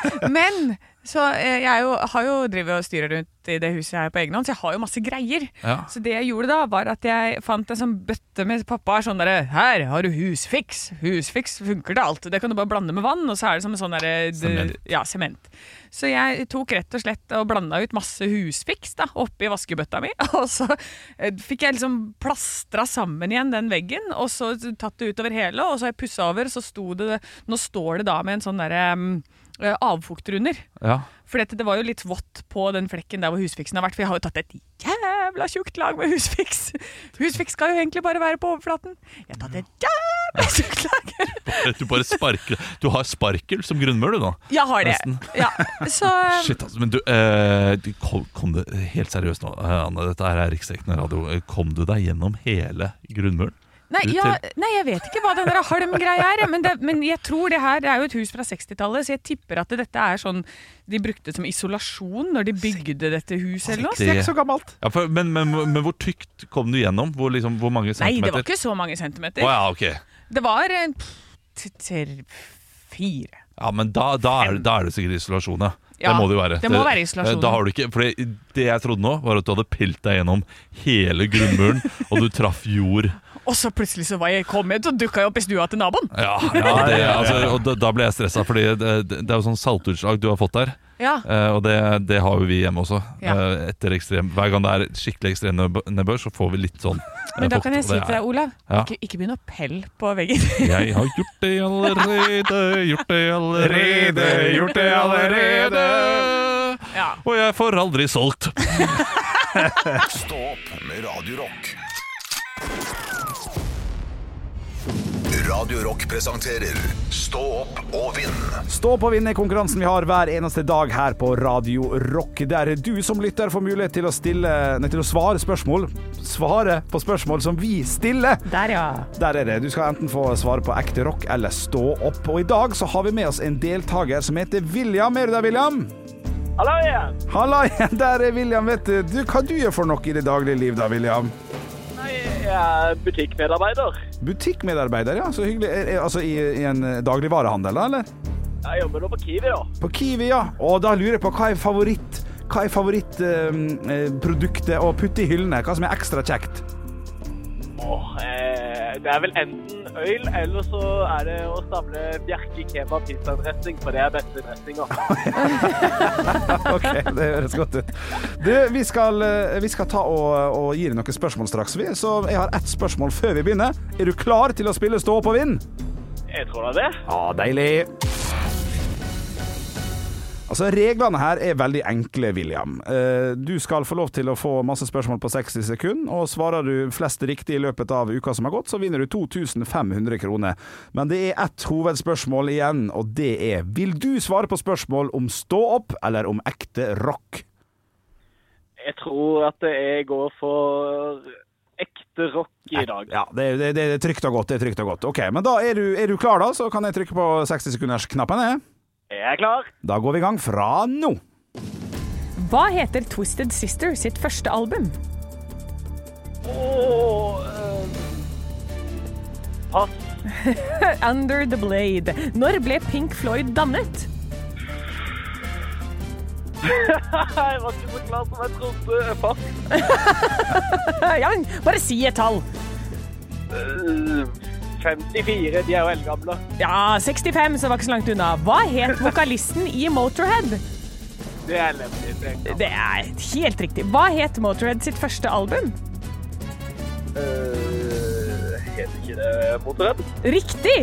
S4: Men så eh, jeg er jo, har jo drevet og styrer rundt i det huset her på egen hånd, så jeg har jo masse greier.
S5: Ja.
S4: Så det jeg gjorde da, var at jeg fant en sånn bøtte med pappa er sånn derre Her har du husfiks! Husfiks funker til alt. Det kan du bare blande med vann, og så er det som en sånn derre d-
S5: Sement.
S4: Ja, sement. Så jeg tok rett og slett og blanda ut masse husfiks da, oppi vaskebøtta mi. Og så eh, fikk jeg liksom plastra sammen igjen den veggen, og så tatt det utover hele, og så har jeg pussa over, så sto det Nå står det da med en sånn derre mm, eh, avfukter under.
S5: Ja.
S4: For dette, det var jo litt vått på den flekken der hvor husfiksen har vært. For jeg har jo tatt et jævla tjukt lag med husfiks. Husfiks skal jo egentlig bare være på overflaten. Jeg har tatt et jævla tjukt lag.
S5: Eh, Du bare sparker Du har sparkel som grunnmur, du nå.
S4: Jeg har det.
S5: Nesten.
S4: Ja, så
S5: Shit, altså. Men du, eh, du kom, kom det helt seriøst nå, eh, Anne. Dette her er riksdekkende radio. Eh, Kom du deg gjennom hele grunnmuren?
S4: nei,
S5: ut
S4: ja, nei, jeg vet ikke hva den der halmgreia er. Men, det, men jeg tror det her det er jo et hus fra 60-tallet, så jeg tipper at dette er sånn de brukte som isolasjon når de bygde dette huset eller noe.
S5: Det-
S3: Så gammelt.
S5: Ja, for, men, men, men hvor tykt kom du gjennom? Hvor, liksom, hvor mange
S4: Nei, det
S5: centimeter?
S4: var ikke så mange centimeter.
S5: Å ja, ok.
S4: Det var en pff, t- tre- fire.
S5: Ja, men da, da, er, da er det sikkert isolasjon, ja.
S4: Ja,
S5: det må det jo være.
S4: det må være isolasjon.
S5: Da har du ikke, for det, det jeg trodde nå, var at du hadde pilt deg gjennom hele grunnmuren, og du traff jord.
S4: Og så plutselig så var jeg kommet og dukka jeg opp i stua til naboen.
S5: Ja, ja, det, altså, og da, da ble jeg stressa, fordi det, det er jo sånn saltutslag du har fått der.
S4: Ja,
S5: eh, Og det, det har jo vi hjemme også.
S4: Ja.
S5: eh, Etter ekstrem, hver gang det er skikkelig ekstrem nedbø- nedbør, så får vi litt sånn eh,
S4: Men da
S5: fukt,
S4: kan jeg
S5: og
S4: si
S5: det
S4: til deg, Olav,
S5: Ja.
S4: ikke, ikke begynn å pelle på veggen.
S5: er- Jeg har gjort det allerede, gjort det allerede,
S3: Rede, gjort det allerede.
S4: Ja.
S5: Og jeg får aldri solgt.
S1: Stå opp med Radio Rock. Radio Rock presenterer Stå opp og vinn.
S3: Stå på og vinne konkurransen vi har hver eneste dag her på Radio Rock, der du som lytter får mulighet til å, stille, nei, til å svare spørsmål. Svare på spørsmål som vi stiller.
S4: Der, ja.
S3: Der er det. Du skal enten få svare på ekte rock eller stå opp. Og i dag så har vi med oss en deltaker som heter William. Er du der, William?
S8: Hallo igjen!
S3: Halla igjen, der er William. Vet du, du hva du gjør for noe i det daglige liv da, William?
S8: Jeg er butikkmedarbeider.
S3: Butikkmedarbeider, ja. Så hyggelig. Er- er- Altså i, i en eh, dagligvarehandel, da, eller?
S8: Jeg jobber nå på Kiwi, da.
S3: På Kiwi, ja. Og da lurer jeg på hva er favoritt Hva er favorittproduktet å putte i hyllene? Hva som er ekstra kjekt?
S8: Åh, eh, det er vel enten øl, eller så er det å samle Bjerke kebab pizzadressing, for det er beste altså. dressinga.
S3: OK, det høres godt ut. Du, vi skal, eh, vi skal ta og, og gi deg noen spørsmål straks, vi. Så jeg har ett spørsmål før vi begynner. Er du klar til å spille stå opp og vinn?
S8: Jeg tror da det.
S3: Ja, deilig. Altså, reglene her er veldig enkle, William. Eh, Du skal få lov til å få masse spørsmål på 60 sekunder, og svarer du flest riktig i løpet av uka som har gått, så vinner du 2500 kroner. Men det er ett hovedspørsmål igjen, og det er Vil du svare på spørsmål om stå opp eller om ekte rock?
S8: Jeg tror at jeg går for ekte rock i dag.
S3: Ja, det, er- det, det er trygt og godt. det er trygt og godt. Ok, Men da er du, er du klar, da, så kan jeg trykke på 60-sekundersknappen. jeg.
S8: Jeg er klar.
S3: Da går vi i gang fra nå.
S4: Hva heter Twisted Sister sitt første album?
S8: Åh, eh, pass.
S4: Under the Blade. Når ble Pink Floyd dannet?
S8: Jeg var ikke så glad som jeg trodde. Pass.
S4: Eh, Ja, men bare si et tall.
S8: Eh, 54, de er jo eldgamle.
S4: Ja, 65, så det var ikke så langt unna. Hva het vokalisten i Motorhead?
S8: Det er elendig. det er eldgamle.
S4: Det er helt riktig. Hva het Motorhead sitt første album?
S8: Eh, Heter ikke det motorredd?
S4: Riktig!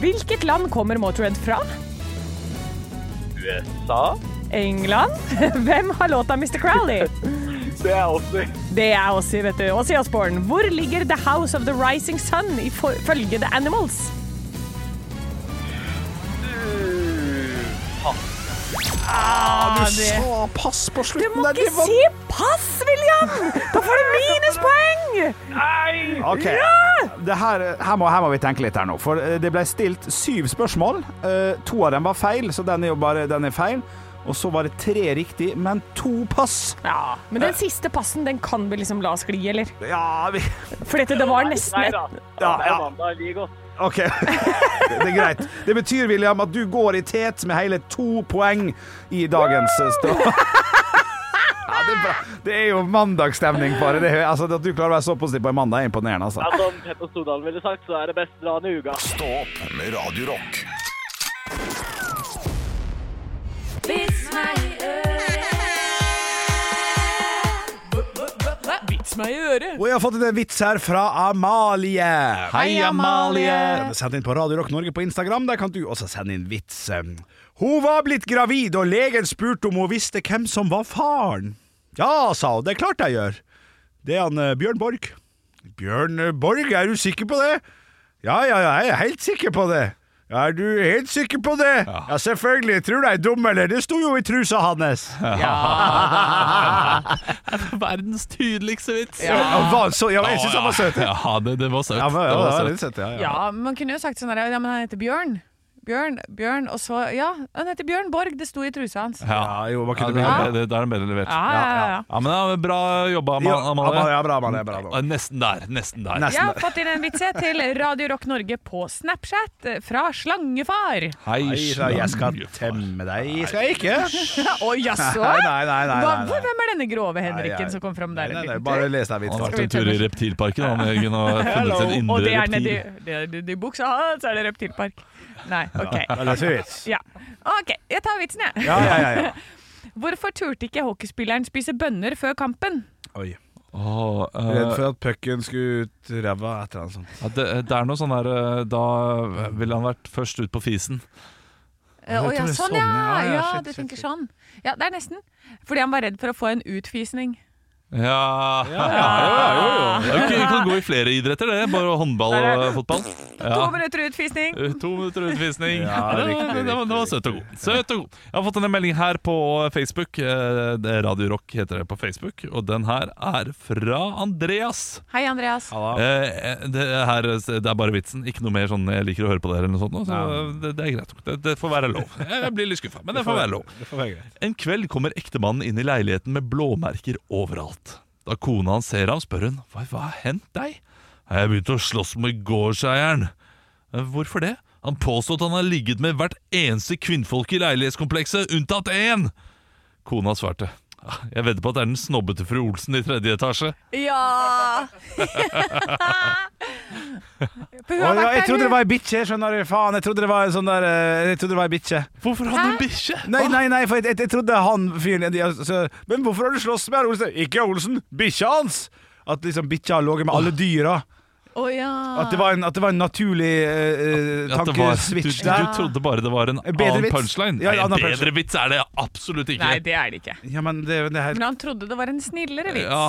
S4: Hvilket land kommer Motorhead fra?
S8: USA?
S4: England. Hvem har låta Mr. Crowley?
S8: Det er 80.
S4: Det er Åssi, vet du. Åssi Osborn. Hvor ligger The House of the Rising Sun ifølge The Animals? Ah, det-
S3: Å, pass på
S4: Du
S3: slutten
S4: må
S3: der!
S4: ikke si pass, William! Da får du minuspoeng!
S8: Nei!
S3: Ok, det her, her, må, her må vi tenke litt her nå. For eh, det ble stilt syv spørsmål. Eh, To av dem var feil, så den er jo bare den er feil. Og så var det tre riktig, men to pass.
S4: Ja, men den siste passen den kan vi liksom la skli, eller?
S3: Ja, vi
S4: For dette, det var nesten
S8: Nei
S4: et
S8: da.
S3: Ja,
S8: Det er
S3: ja.
S8: mandag like godt.
S3: OK. Det er greit. Det betyr, William, at du går i tet med hele to poeng i dagens stå... Ja, det, er bra. det er jo mandagsstemning, bare. Det, er- altså, at du klarer å være så positiv på en mandag, er imponerende. Altså.
S8: Ja, som Petter Stordalen ville sagt, så er det beste dagen i uka.
S1: Stå opp med Radio Rock.
S6: Vits meg i
S4: Vits meg i øret!
S3: Og jeg har fått en vits her fra Amalie.
S4: Hei, Amalie.
S3: Den er sendt inn på Radio Rock Norge på Instagram. Der kan du også sende inn vits. Hun var blitt gravid, og legen spurte om hun visste hvem som var faren. Ja, sa hun, det er klart jeg gjør. Det er han eh, Bjørn Borg. Bjørn eh, Borg, er du sikker på det? Ja, ja, ja, jeg er helt sikker på det. Er du helt sikker på det? Ja, selvfølgelig. Tror du jeg er dum, eller? Det sto jo i trusa hans.
S5: Verdens tydeligste vits.
S3: Ja, han var så, ja, jeg syns han var søt. Ja,
S5: Ja, det, det var søt.
S3: han var, ja,
S5: det
S3: han
S5: var
S3: var
S5: søt.
S3: litt søt, ja, ja.
S10: Ja, men man kunne jo sagt sånn der Ja, men han heter Bjørn. Bjørn, Bjørn, og så Ja, han heter Bjørn Borg, det sto i trusa hans. Ja,
S3: Ja, jo, hva
S5: Ja,
S3: kunne
S5: det,
S3: bli?
S5: det, det er den bedre levert.
S10: ja, ja. ja.
S5: Ja, men ja, Bra jobba, Ama-
S3: Ja,
S5: Amalie.
S3: Amalie, ja, bra, Amalie, bra, bra.
S5: Ja, Nesten der. Nesten der.
S10: Jeg har fått inn en vits jeg, til Radio Rock Norge på Snapchat eh, fra Slangefar.
S5: Hei,
S3: Nei, sa jeg skal temme deg. Skal jeg ikke?
S10: Å jaså?
S3: Nei, nei, nei. nei,
S10: Hva-
S3: nei, nei.
S10: Hvem er denne grove
S3: Nei, nei.
S10: Henriken som kom fram der? en
S3: Nei, nei,
S10: liten tur?
S3: bare les deg
S5: Han har
S3: vits.
S5: vært en tur i reptilparken han, Jørgen, og
S3: sånn
S5: funnet sin
S10: Og det
S5: indre
S10: er nedi
S5: reptil.
S10: det er nedi buksa hans, er det reptilpark. Nei, OK. Ja. OK, jeg tar vitsen, jeg.
S3: Ja, ja, ja, ja.
S10: Hvorfor turte ikke hockeyspilleren spise bønner før kampen?
S3: Oi.
S5: Åh, eh,
S3: Redd for at pucken skulle ut ræva etter han sånn.
S5: ja, det, det er noe sånn der eh, Da ville han vært først ut på fisen.
S10: Eh, Å ja,
S3: det er
S10: sånn
S3: sånn,
S10: ja!
S3: ja, ja,
S10: Ja,
S3: shit,
S10: du
S3: shit,
S10: tenker
S3: shit.
S10: sånn. Ja, det er nesten. Fordi han var redd for å få en utfisning.
S5: Ja, ja, Det er jo ikke- det kan gå i flere idretter, det. Bare håndball og fotball.
S10: Ah, To
S5: Ja.
S10: minutter utfisning!
S3: Uh.
S5: Eh, To minutter utvisning.
S3: Ja,
S5: det, var-
S3: riktig,
S5: det, var- det var
S3: riktig,
S5: søt og god. Søt og god. Jeg har fått en melding her på Facebook. Eh, Det er Radio Rock heter det på Facebook, og den her er fra Andreas.
S10: Hei, Andreas.
S5: Eh, det, her, det er bare vitsen. Ikke noe mer sånn 'jeg liker å høre på dere' eller noe sånt. nå, Så det, det er greit. nok. Det, det får være lov. Jeg blir litt skuffa, men det får være lov.
S3: Det får være greit.
S5: En kveld kommer ektemannen inn i leiligheten med blåmerker overalt. Da kona hans ser ham, spør hun hva, hva har hendt deg? Jeg begynte å slåss med gårdseieren. «Eh, Hvorfor det? Han påstod at han har ligget med hvert eneste kvinnfolk i leilighetskomplekset, unntatt én! Kona svarte. «Ah, Jeg vedder på at det er den snobbete fru Olsen i tredje etasje.
S10: Ja! For hun
S3: Å,
S10: har
S3: ja,
S10: vært
S3: jeg
S10: der,
S3: trodde det
S10: hun.
S3: var ei bikkje. Skjønner du, faen. Jeg trodde det var en sånn der eh, Jeg trodde det var ei bikkje.
S5: Hvorfor hadde hun bikkje?
S3: Nei, nei, nei, for jeg, jeg, jeg trodde han fyren de- altså, Men hvorfor har du slåss med herr Olsen? Ikke Olsen, bikkja hans! At liksom bikkja har ligget med alle dyra.
S4: Å ja.
S3: At det var en, at det var en naturlig uh,
S5: At det var-
S3: tankeswitch
S5: du,
S3: der.
S5: du trodde bare det var en
S3: En bedre
S5: annen
S3: vits.
S5: punchline?
S3: Ja, en
S5: Nei, en
S3: annen
S5: bedre
S3: punchline.
S5: vits er det absolutt ikke.
S11: Nei, det er det ikke.
S3: Ja, men det, det her
S4: Men han trodde det var en snillere vits.
S5: Ja.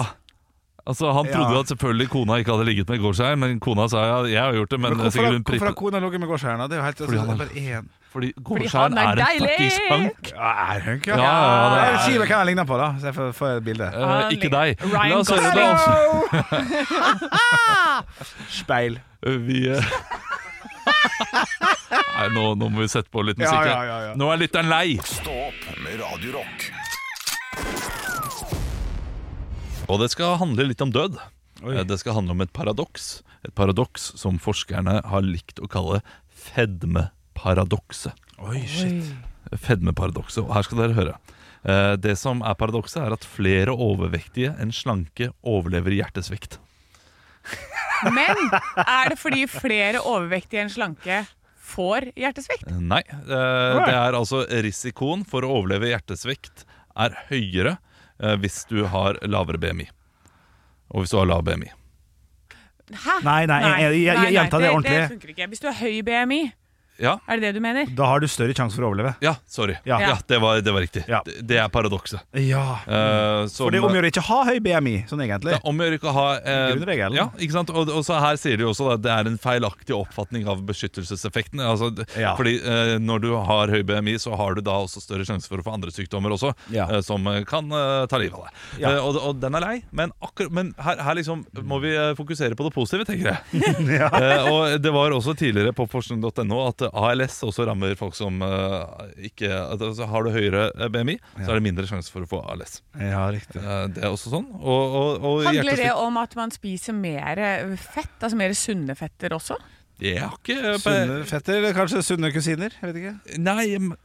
S5: Altså, Han trodde
S3: Ja.
S5: at selvfølgelig kona ikke hadde ligget med Gårdskjær, men kona sa ja, jeg har gjort det, men,
S3: Men
S5: det er
S3: hvorfor,
S5: sikkert
S3: har-
S5: hun
S3: hvorfor har
S5: prippet
S3: kona ligget med gårdseieren? da? Det er jo helt
S5: Fordi han er-
S3: bare én.
S5: Fordi
S4: han
S5: Gårdskjær
S4: er
S5: er en
S4: deilig!
S5: fuckings punk.
S3: Ja, er hun ikke?
S5: Ja, ja, det
S3: Jeg
S5: er-
S3: vil si meg hvem jeg ligner på, da, så jeg får, får et bilde.
S5: Eh,
S11: Han
S5: ikke
S11: ligner-
S5: deg.
S11: Ryan
S5: La oss høre
S11: Gosling.
S5: det. altså.
S3: Speil.
S5: Vi eh, Nei, nå, nå må vi sette på litt musikk.
S3: Ja,
S5: her.
S3: ja, ja, ja.
S5: Nå er lytteren lei.
S1: Stå opp med Radio Rock.
S5: Og det skal handle litt om død. Eh, Det skal handle om et paradoks. Et paradoks som forskerne har likt å kalle fedmeparadokset.
S3: Oi, shit.
S5: Fedmeparadokset. Og her skal dere høre. Eh, Det som er paradokset, er at flere overvektige enn slanke overlever hjertesvikt.
S4: Men er det fordi flere overvektige enn slanke får hjertesvikt?
S5: Eh, Nei. eh, Det er altså risikoen for å overleve hjertesvikt er høyere eh, hvis du har lavere BMI. Og hvis du har lav BMI.
S4: Hæ?
S3: Nei, nei, jeg- jeg- jeg-
S4: nei, nei,
S3: gjenta det
S4: Det
S3: ordentlig.
S4: funker ikke. Hvis du har høy BMI,
S5: Ja,
S4: er det det du mener?
S3: Da har du større sjanse for å overleve.
S5: ja sorry.
S3: Ja.
S5: Ja, det, var, det var riktig.
S3: Ja.
S5: Det, det er paradokset.
S3: Ja.
S5: Eh, som-
S3: For det omgjør ikke å ha høy BMI, sånn egentlig.
S5: Det er om å gjøre ikke å ha eh,
S3: Grunnregelen.
S5: Ja, ikke sant? Og, og så her sier de jo også at det er en feilaktig oppfatning av beskyttelseseffekten. Altså, d-
S3: Ja.
S5: Fordi eh, når du har høy BMI, så har du da også større sjanse for å få andre sykdommer også,
S3: Ja.
S5: eh, som eh, kan eh, ta livet av deg.
S3: Ja.
S5: Eh, og, og den er lei, men, akkur men her, her liksom må vi eh, fokusere på det positive, tenker jeg. Eh, og det var også tidligere på forskning.no at eh, ALS også rammer folk som eh, ikke at, altså, Har du høyere eh, BMI, så er det mindre sjanse for å få ALS.
S3: Ja, riktig.
S5: Eh, det er også sånn. Og, og, og
S4: Handler
S5: hjertesvikt-
S4: det om at man spiser mer fett, altså mer sunne fetter også?
S5: Jeg har ikke eh,
S3: Sunne fetter, eller kanskje sunne kusiner? Jeg vet ikke.
S5: Nei, men-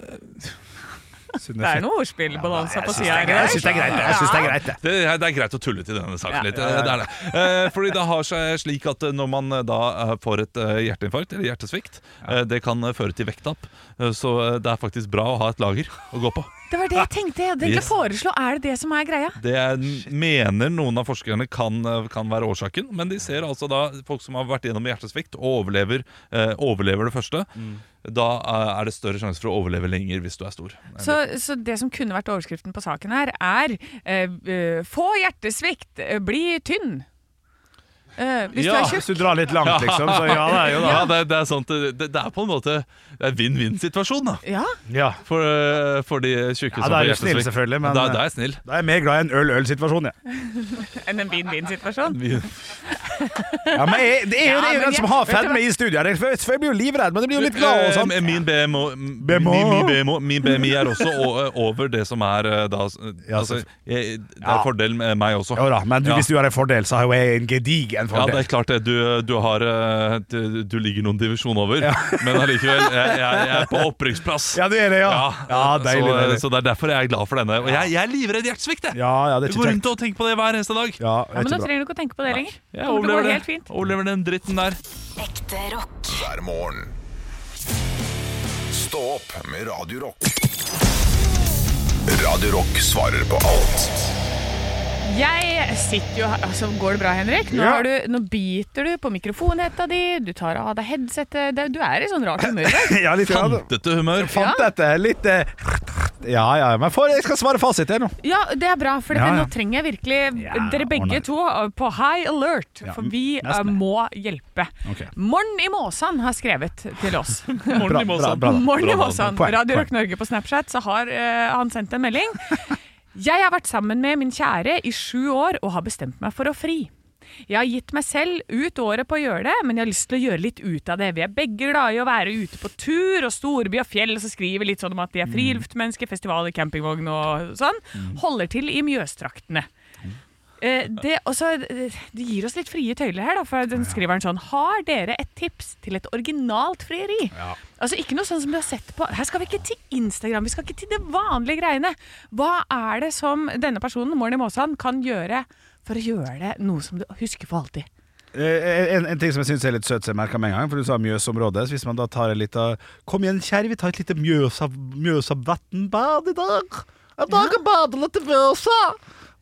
S3: Sunne
S4: Det er
S3: fetter.
S4: noe ordspillbalanse på sida
S3: Jeg
S4: her.
S3: syns det er greit, jeg. synes det er greit, det.
S5: det, er- det er greit å tulle til denne saken litt. Det er det. Eh, fordi det har seg slik at eh, når man eh, da eh, får et eh, hjerteinfarkt eller hjertesvikt, eh, det kan eh, føre til vekttap. Eh, Så eh, det er faktisk bra å ha et lager å gå på.
S4: Det var det jeg tenkte. Jeg hadde egentlig
S5: Yes.
S4: foreslå, er det det som er greia?
S5: Det er, mener noen av forskerne kan, eh, kan være årsaken, men de ser altså da folk som har vært gjennom hjertesvikt og overlever, eh, overlever det første. Da eh, er det større sjanse for å overleve lenger hvis du er stor.
S4: Så, så det som kunne vært overskriften på saken her, er eh, eh, få hjertesvikt, eh, bli tynn. Eh, hvis
S5: Ja.
S4: du er tjukk.
S3: Hvis du drar litt langt, liksom, så ja, det er jo da.
S5: Ja, det, det er sant. Det, det det er på en måte det er en vinn-vinn-situasjon, da.
S4: Ja.
S3: Ja.
S5: For, øh, for de tjukke
S3: Ja,
S5: som får
S3: da er du snill,
S5: hjertesvikt.
S3: selvfølgelig, men eh,
S5: Da, da er jeg snill.
S3: da er jeg mer glad i en øl-øl-situasjon, jeg.
S4: Enn en vin-vin-situasjon.
S3: Ja, men jeg, det er jo det er
S4: Ja,
S3: jo
S4: men
S3: den
S4: jeg-
S3: som har
S4: vet du
S3: fedme
S4: hva?
S3: i studiet. her. Jeg, jeg blir jo livredd, men jeg blir jo litt glad. og sånn.
S5: Eh, Min BMO,
S3: BMO.
S5: Min, min, BMO, min BMI er også o- eh, over det som er eh, da
S3: Ja,
S5: altså,
S3: selvfølgelig.
S5: jeg, Det er
S3: Ja.
S5: fordel med meg også.
S3: Jo da, men du,
S5: Ja.
S3: hvis du har en fordel, så har jo jeg en gedigen
S5: Ja, det
S3: fordel.
S5: er klart det. Du, du, har, eh, du, du ligger noen divisjon over, men allikevel, jeg, jeg, jeg er på opprykksplass.
S3: Ja, du er det, ja. Ja, deilig,
S5: så, eh,
S3: deilig.
S5: så det er derfor jeg er glad for denne. Og jeg, jeg er livredd hjertesvikt, jeg.
S3: Ja, ja, det
S5: Jeg går
S3: er ikke
S5: rundt
S3: kjekt.
S5: og tenker på det hver eneste dag.
S3: Ja,
S4: Ja, men
S3: ikke
S4: nå
S3: bra.
S4: trenger du ikke å tenke på det lenger.
S5: Jeg
S4: Kommer til å
S5: overlever
S4: gå
S5: det.
S4: helt fint.
S5: Overlever den dritten der.
S12: Ekte rock.
S1: hver morgen. Stå opp med Radio Rock. Radio Rock svarer på alt
S4: Jeg sitter jo her altså, Går det bra, Henrik? Nå,
S3: Ja.
S4: har du, nå biter du på mikrofonhetta di, du tar av deg headsetet det- Du er i sånn rart humør. i dag.
S3: Ja, litt ja, det-
S5: Dette humør.
S3: Fant dette litt eh, Ja, ja, men for, jeg skal svare fasit her nå.
S4: Ja, det er bra, for
S3: Ja, ja.
S4: nå trenger jeg virkelig
S3: Ja,
S4: dere begge
S3: ordner.
S4: to eh, på high alert,
S3: Ja,
S4: for vi eh,
S3: nesten.
S4: må hjelpe.
S3: Ok.
S4: Morn i Måsan har skrevet til oss.
S3: Bra, bra, bra, da.
S4: Morn i
S5: Bra,
S4: Måsan.
S3: Poeng,
S4: Radio
S3: poeng.
S4: Rock Norge på Snapchat, så har eh, han sendt en melding. Jeg har vært sammen med min kjære i sju år og har bestemt meg for å fri. Jeg har gitt meg selv ut året på å gjøre det, men jeg har lyst til å gjøre litt ut av det. Vi er begge glade i å være ute på tur og storby og fjell, og så skriver vi litt sånn om at de
S5: Mm.
S4: er friluftsmennesker, festivaler, campingvogn og sånn. Holder til i Mjøstraktene.
S5: Mm.
S4: Eh, Det, og så, eh, det gir oss litt frie tøyler her, da, for den skriver han sånn Har dere et tips til et originalt frieri? Altså Ikke noe sånn som du har sett på Her skal vi ikke til Instagram, vi skal ikke til det vanlige greiene. Hva er det som denne personen, Morny Maasan, kan gjøre for å gjøre det noe som du husker for alltid?
S3: Eh, En, en ting som jeg syns er litt søt, som jeg merka med en gang, for du sa Mjøsområdet. Så hvis man da tar en liten Kom igjen, kjære, vi tar et lite Mjøsa- Mjøsavatnbad i dag. Jeg bare bader litt i Mjøsa.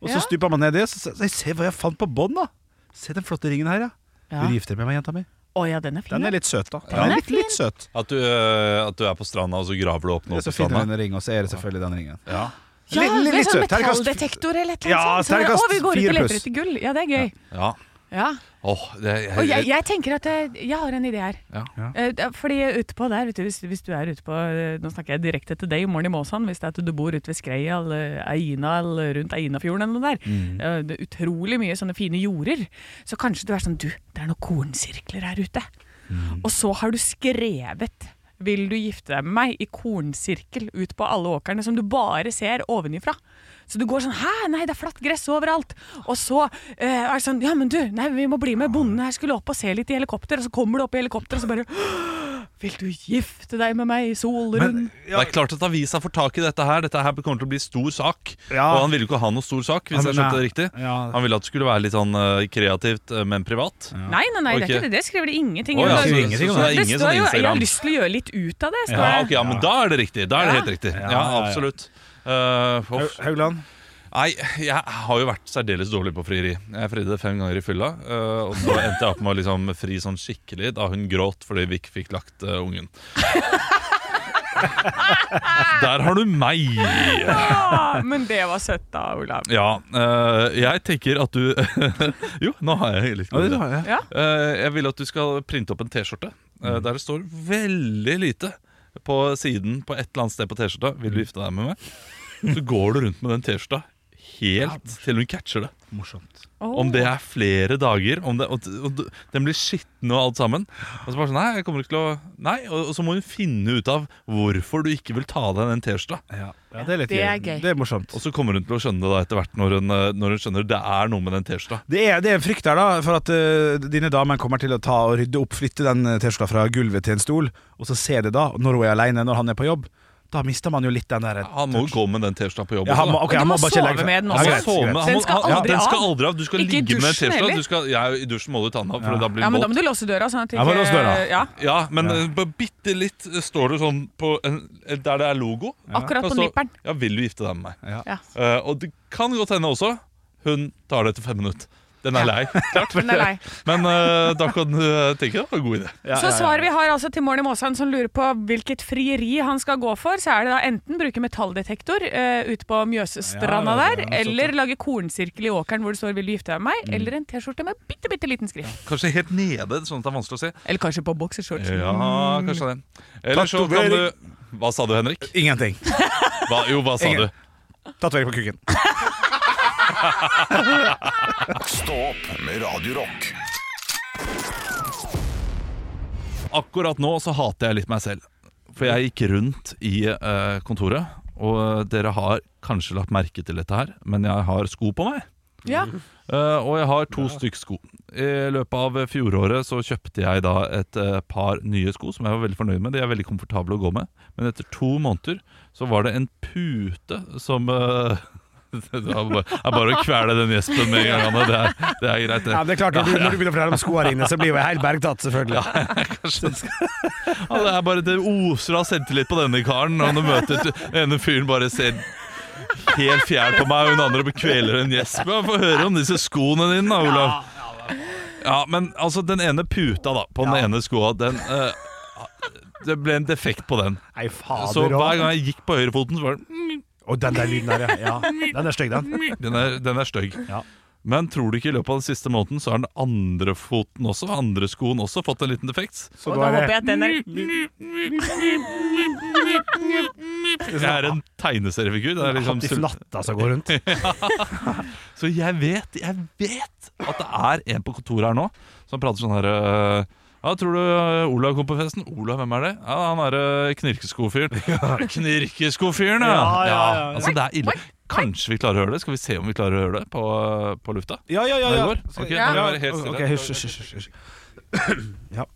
S3: Og så
S4: Ja.
S3: stuper man ned i, og så, så, så jeg ser hva jeg fant på bånn, da. Se den flotte ringen her, ja.
S4: Ja.
S3: Vil du gifte deg med meg, jenta mi?
S4: Å ja, den er fin.
S3: Den
S4: da.
S3: er litt søt, da. Den
S5: Ja.
S3: er litt, litt søt.
S5: At du, øh, at du er på stranda, og så graver du opp noe
S3: Og så
S5: på
S3: finner du
S5: stranda.
S3: en ring, og så er det selvfølgelig den ringen.
S5: Ja.
S4: Ja,
S3: Litt- litt-
S4: det er
S3: litt
S4: sånn
S3: søt. Terningkast-
S4: Metalldetektor eller et eller
S3: Ja,
S4: annet sånt. Sånn,
S3: terningkast
S4: å, vi går ut
S3: fire
S4: og leter
S3: pluss.
S4: etter gull. Ja, det er gøy.
S5: ja.
S4: Ja.
S5: Åh, det, jeg,
S4: Og jeg, jeg tenker at jeg, jeg har en idé her.
S5: Ja.
S4: Eh, det er Fordi ute på der, vet du, hvis, hvis du er ute på eh, Nå snakker jeg direkte til deg i morgen i Måsan, hvis det er at du bor ute ved Skreia eller Eina eller rundt Einafjorden eller noe der. Eh, Det er utrolig mye sånne fine jorder. Så kanskje du er sånn Du, det er noen kornsirkler her ute. Og så har du skrevet vil du gifte deg med meg i kornsirkel ut på alle åkrene som du bare ser ovenifra. Så du går sånn Hæ, nei, det er flatt gress overalt. Og så eh, er det sånn Ja, men du, nei, vi må bli med. Bonden her skulle opp og se litt i helikopter. Og så kommer du opp i helikopter, og så bare «Åh, Vil du gifte deg med meg i solrund?
S5: Det er klart at avisa får tak i dette her. Dette her kommer til å bli stor sak.
S3: Ja.
S5: Og han ville jo ikke ha noe stor sak, hvis
S3: Han-
S5: jeg skjønte det
S3: nei.
S5: riktig.
S3: Ja.
S5: Han ville at det skulle være litt sånn øh, kreativt, øh, men privat.
S4: Nei, nei, nei, det er
S5: Ok.
S4: ikke det. Det skriver de ingenting
S5: Å, ja,
S4: om.
S5: så,
S3: skriver
S5: så,
S3: ingenting
S5: så
S3: om
S5: det
S3: det.
S5: er
S4: Det
S5: ingen sånn
S4: står jo 'Jeg har
S5: Instagram.
S4: lyst til å gjøre litt ut av det'. Står
S5: Ja,
S4: det.
S5: ok, ja, men da er det riktig. Da er det helt riktig. Ja, absolutt. Eh,
S3: Hau-
S5: hoff.
S3: Haugland?
S5: Nei, jeg har jo vært særdeles dårlig på frieri. Jeg fridde fem ganger i fylla, eh, og så endte jeg opp med å liksom fri sånn skikkelig da hun gråt fordi vi ikke fikk lagt eh, ungen. Der har du meg!
S4: Ah, men det var søtt, da, Olav.
S5: Ja, eh, jeg tenker at du Jo, nå har jeg litt god idé.
S4: Ja.
S5: Eh, Jeg vil at du skal printe opp en T-skjorte eh, der det står veldig lite på siden på et eller annet sted på T-skjorta. Vil du gifte deg med meg? Så går du rundt med den T-skjorta helt til hun catcher det.
S3: Morsomt.
S4: Åh.
S5: Om det er flere dager, om det, og, og, den blir skitten og alt sammen. Og så bare sånn, nei, jeg kommer ikke til å Nei, og, og så må hun finne ut av hvorfor du ikke vil ta av deg den T-skjorta.
S3: Ja. ja, det er litt
S4: Det er gøy.
S3: Det er morsomt.
S5: Og så kommer hun til å skjønne det da etter hvert når hun, eh, når hun skjønner det er noe med den T-skjorta.
S3: Det er, det er en frykt der, da, for at eh, dine damer kommer til å ta og rydde opp, flytte den eh, T-skjorta fra gulvet til en stol, og så ser det da, når hun er aleine, når han er på jobb. Da mister man jo litt den der
S5: Han må jo gå med den T-skjorta på jobb.
S3: ja,
S5: også,
S3: han
S5: da.
S3: må, ok,
S4: Og du
S3: han
S4: må
S3: må bare ikke legge
S4: sove med den
S3: Ja,
S4: også.
S5: Han skal
S3: greit,
S5: sove med
S3: greit.
S5: han må-
S4: Den skal
S5: han- ja,
S4: aldri
S5: den skal
S4: av.
S5: aldri av. Du skal
S4: Ikke i
S5: ligge med
S4: dusjen
S5: T-skjorta.
S4: heller.
S5: Du skal- ja, I dusjen må du ta den av, for da blir
S4: Ja,
S5: den
S4: men da må
S5: våt.
S4: du låse døra. Sånn at
S3: Ja, må låse døra.
S4: Ja,
S5: Ja, men eh, bare bitte litt står det sånn på en, der det er logo.
S4: akkurat
S5: Og
S4: på
S5: så-
S4: nipperen.
S5: Ja, vil du gifte deg med meg?
S4: Ja.
S5: Eh, og det kan godt hende også hun tar det etter fem minutter. Den er lei, klart.
S4: Den er lei.
S5: Men eh, da kan du eh, tenke deg det var en god idé.
S4: Så svaret vi har altså til Morny Maasan som lurer på hvilket frieri han skal gå for, så er det da enten bruke metalldetektor eh, ute på Mjøsstranda
S3: Ja, ja,
S4: der,
S3: ja, sånn,
S4: eller lage kornsirkel i åkeren hvor det står 'Vil du gifte deg med meg?' eller en T-skjorte med bitte, bitte liten skrift.
S5: Kanskje helt nede, sånn at det er vanskelig å se.
S4: Eller kanskje på boksershorts.
S5: Ja, kanskje det. Eller så kan du Hva sa du, Henrik?
S3: Ingenting.
S5: Hva, jo, hva sa
S3: Ingen.
S5: du?
S3: Tatovering på kukken.
S1: Stå opp med Radio Rock.
S5: Akkurat nå så hater jeg litt meg selv. For jeg gikk rundt i eh, kontoret, og eh, dere har kanskje lagt merke til dette her, men jeg har sko på meg.
S4: Ja.
S5: Eh, og jeg har to stykk sko. I løpet av fjoråret så kjøpte jeg da et eh, par nye sko som jeg var veldig fornøyd med. De er veldig komfortable å gå med. Men etter to måneder så var det en pute som eh, Det er bare det er bare å kvele den gjespen med en gang, Anne. Det er, det er greit, det.
S3: Ja, men det er klart, Når du, når du begynner å fortelle om skoene dine, så blir jo jeg helt bergtatt, selvfølgelig.
S5: Kanskje det skal- ja, det er bare Det oser av selvtillit på denne karen når han møter t- den ene fyren bare ser helt fjern på meg, og hun andre kveler en gjesp. Ja, Få høre om disse skoene dine, da, Olav. Ja, men altså, den ene puta da på den ene skoa, den eh, Det ble en defekt på den.
S3: Nei,
S5: Så
S3: fader
S5: hver
S3: òg.
S5: gang jeg gikk på høyrefoten, så var det "Mm,
S3: Og den der lyden der, ja. ja. Den er stygg, den.
S5: Den er, den er stygg.
S3: Ja.
S5: Men tror du ikke i løpet av den siste måneden så har den andre foten også, andre skoen også, fått en liten defekt?
S3: Så
S4: Og
S3: da er
S4: da håper
S3: det
S4: jeg at den er
S5: Jeg er en tegneseriefigur. Det er liksom
S3: Hattif Latta som går rundt.
S5: Så jeg vet, jeg vet at det er en på kontoret her nå som prater sånn her øh, ja, tror du øh, Olav kom på festen? Olav, hvem er det? Ja, Han er øh, knirkeskofyren. Knirkeskofyren, ja.
S3: Ja, ja, ja, ja.
S5: Altså, det er ille. Kanskje vi klarer å høre det? Skal vi se om vi klarer å høre det på, øh, på lufta?
S3: Ja, ja, ja.
S5: Det
S3: ja.
S5: går? Ok, nå må vi være helt stille.
S3: Ok, hysj, hysj, hysj, hysj. Ja.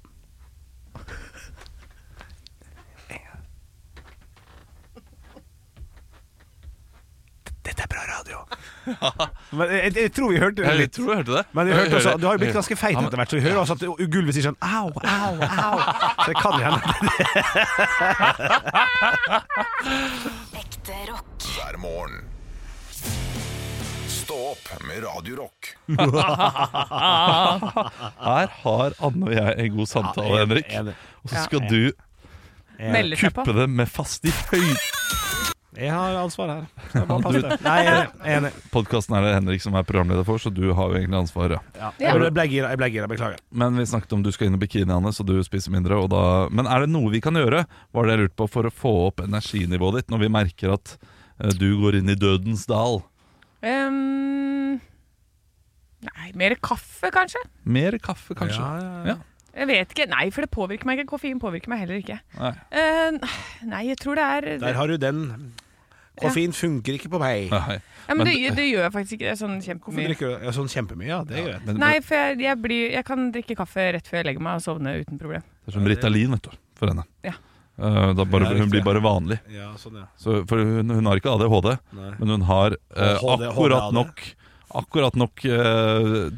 S3: Dette er bra radio. Men jeg, jeg tror vi hørte det
S5: Jeg
S3: litt.
S5: tror jeg hørte det.
S3: Men jeg hørte også,
S5: hører-
S3: du har jo blitt ganske feit
S5: Ja, men-
S3: etter hvert, så vi hører også at gulvet sier sånn au, au, au. Så det kan jo hende.
S1: hver morgen. Stå opp med Radio Rock.
S5: Her har Anne og jeg en god samtale,
S3: Ja, enig,
S5: Henrik.
S3: enig.
S5: Og så skal du
S4: Melder seg på.
S5: kuppe det med fast i høyden.
S3: Jeg har ansvar her. Så jeg bare passer det. Nei, jeg er enig. Jeg er enig.
S5: Podkasten er det Henrik som er programleder for, så du har jo egentlig ansvaret.
S3: Ja. Jeg ble gira, jeg ble gira, beklager.
S5: Men vi snakket om du skal inn i bikini, Anne, så du spiser mindre. Og da... Men er det noe vi kan gjøre, var det jeg lurte på, for å få opp energinivået ditt når vi merker at eh, du går inn i dødens dal?
S4: Ehm, nei, mer kaffe, kanskje?
S5: Mer kaffe, kanskje? Ja.
S4: Jeg vet ikke. Nei, for det påvirker meg ikke. Koffein påvirker meg heller ikke.
S5: Nei.
S4: Eh, nei, jeg tror det er
S3: Der har du den. Koffein funker ikke på meg.
S5: Nei.
S4: ja, men
S5: men
S4: det,
S5: det-
S4: det gjør jeg faktisk ikke. Det er sånn
S3: Hvorfor
S4: kjempemye.
S3: drikker du ja, sånn kjempemye? Ja, det er greit.
S5: Men,
S4: Nei, for jeg, jeg, blir, jeg kan drikke kaffe rett før jeg legger meg og sovne uten problem.
S5: Det er som Ritalin, vet du, for henne.
S4: Ja.
S5: Eh, da bare,
S3: Ja, riktig.
S5: hun blir bare vanlig.
S3: Ja, sånn, ja.
S5: Så, for hun, hun har ikke ADHD,
S3: Nei.
S5: men hun har eh,
S3: HD,
S5: akkurat
S3: ADHD.
S5: nok Akkurat nok eh,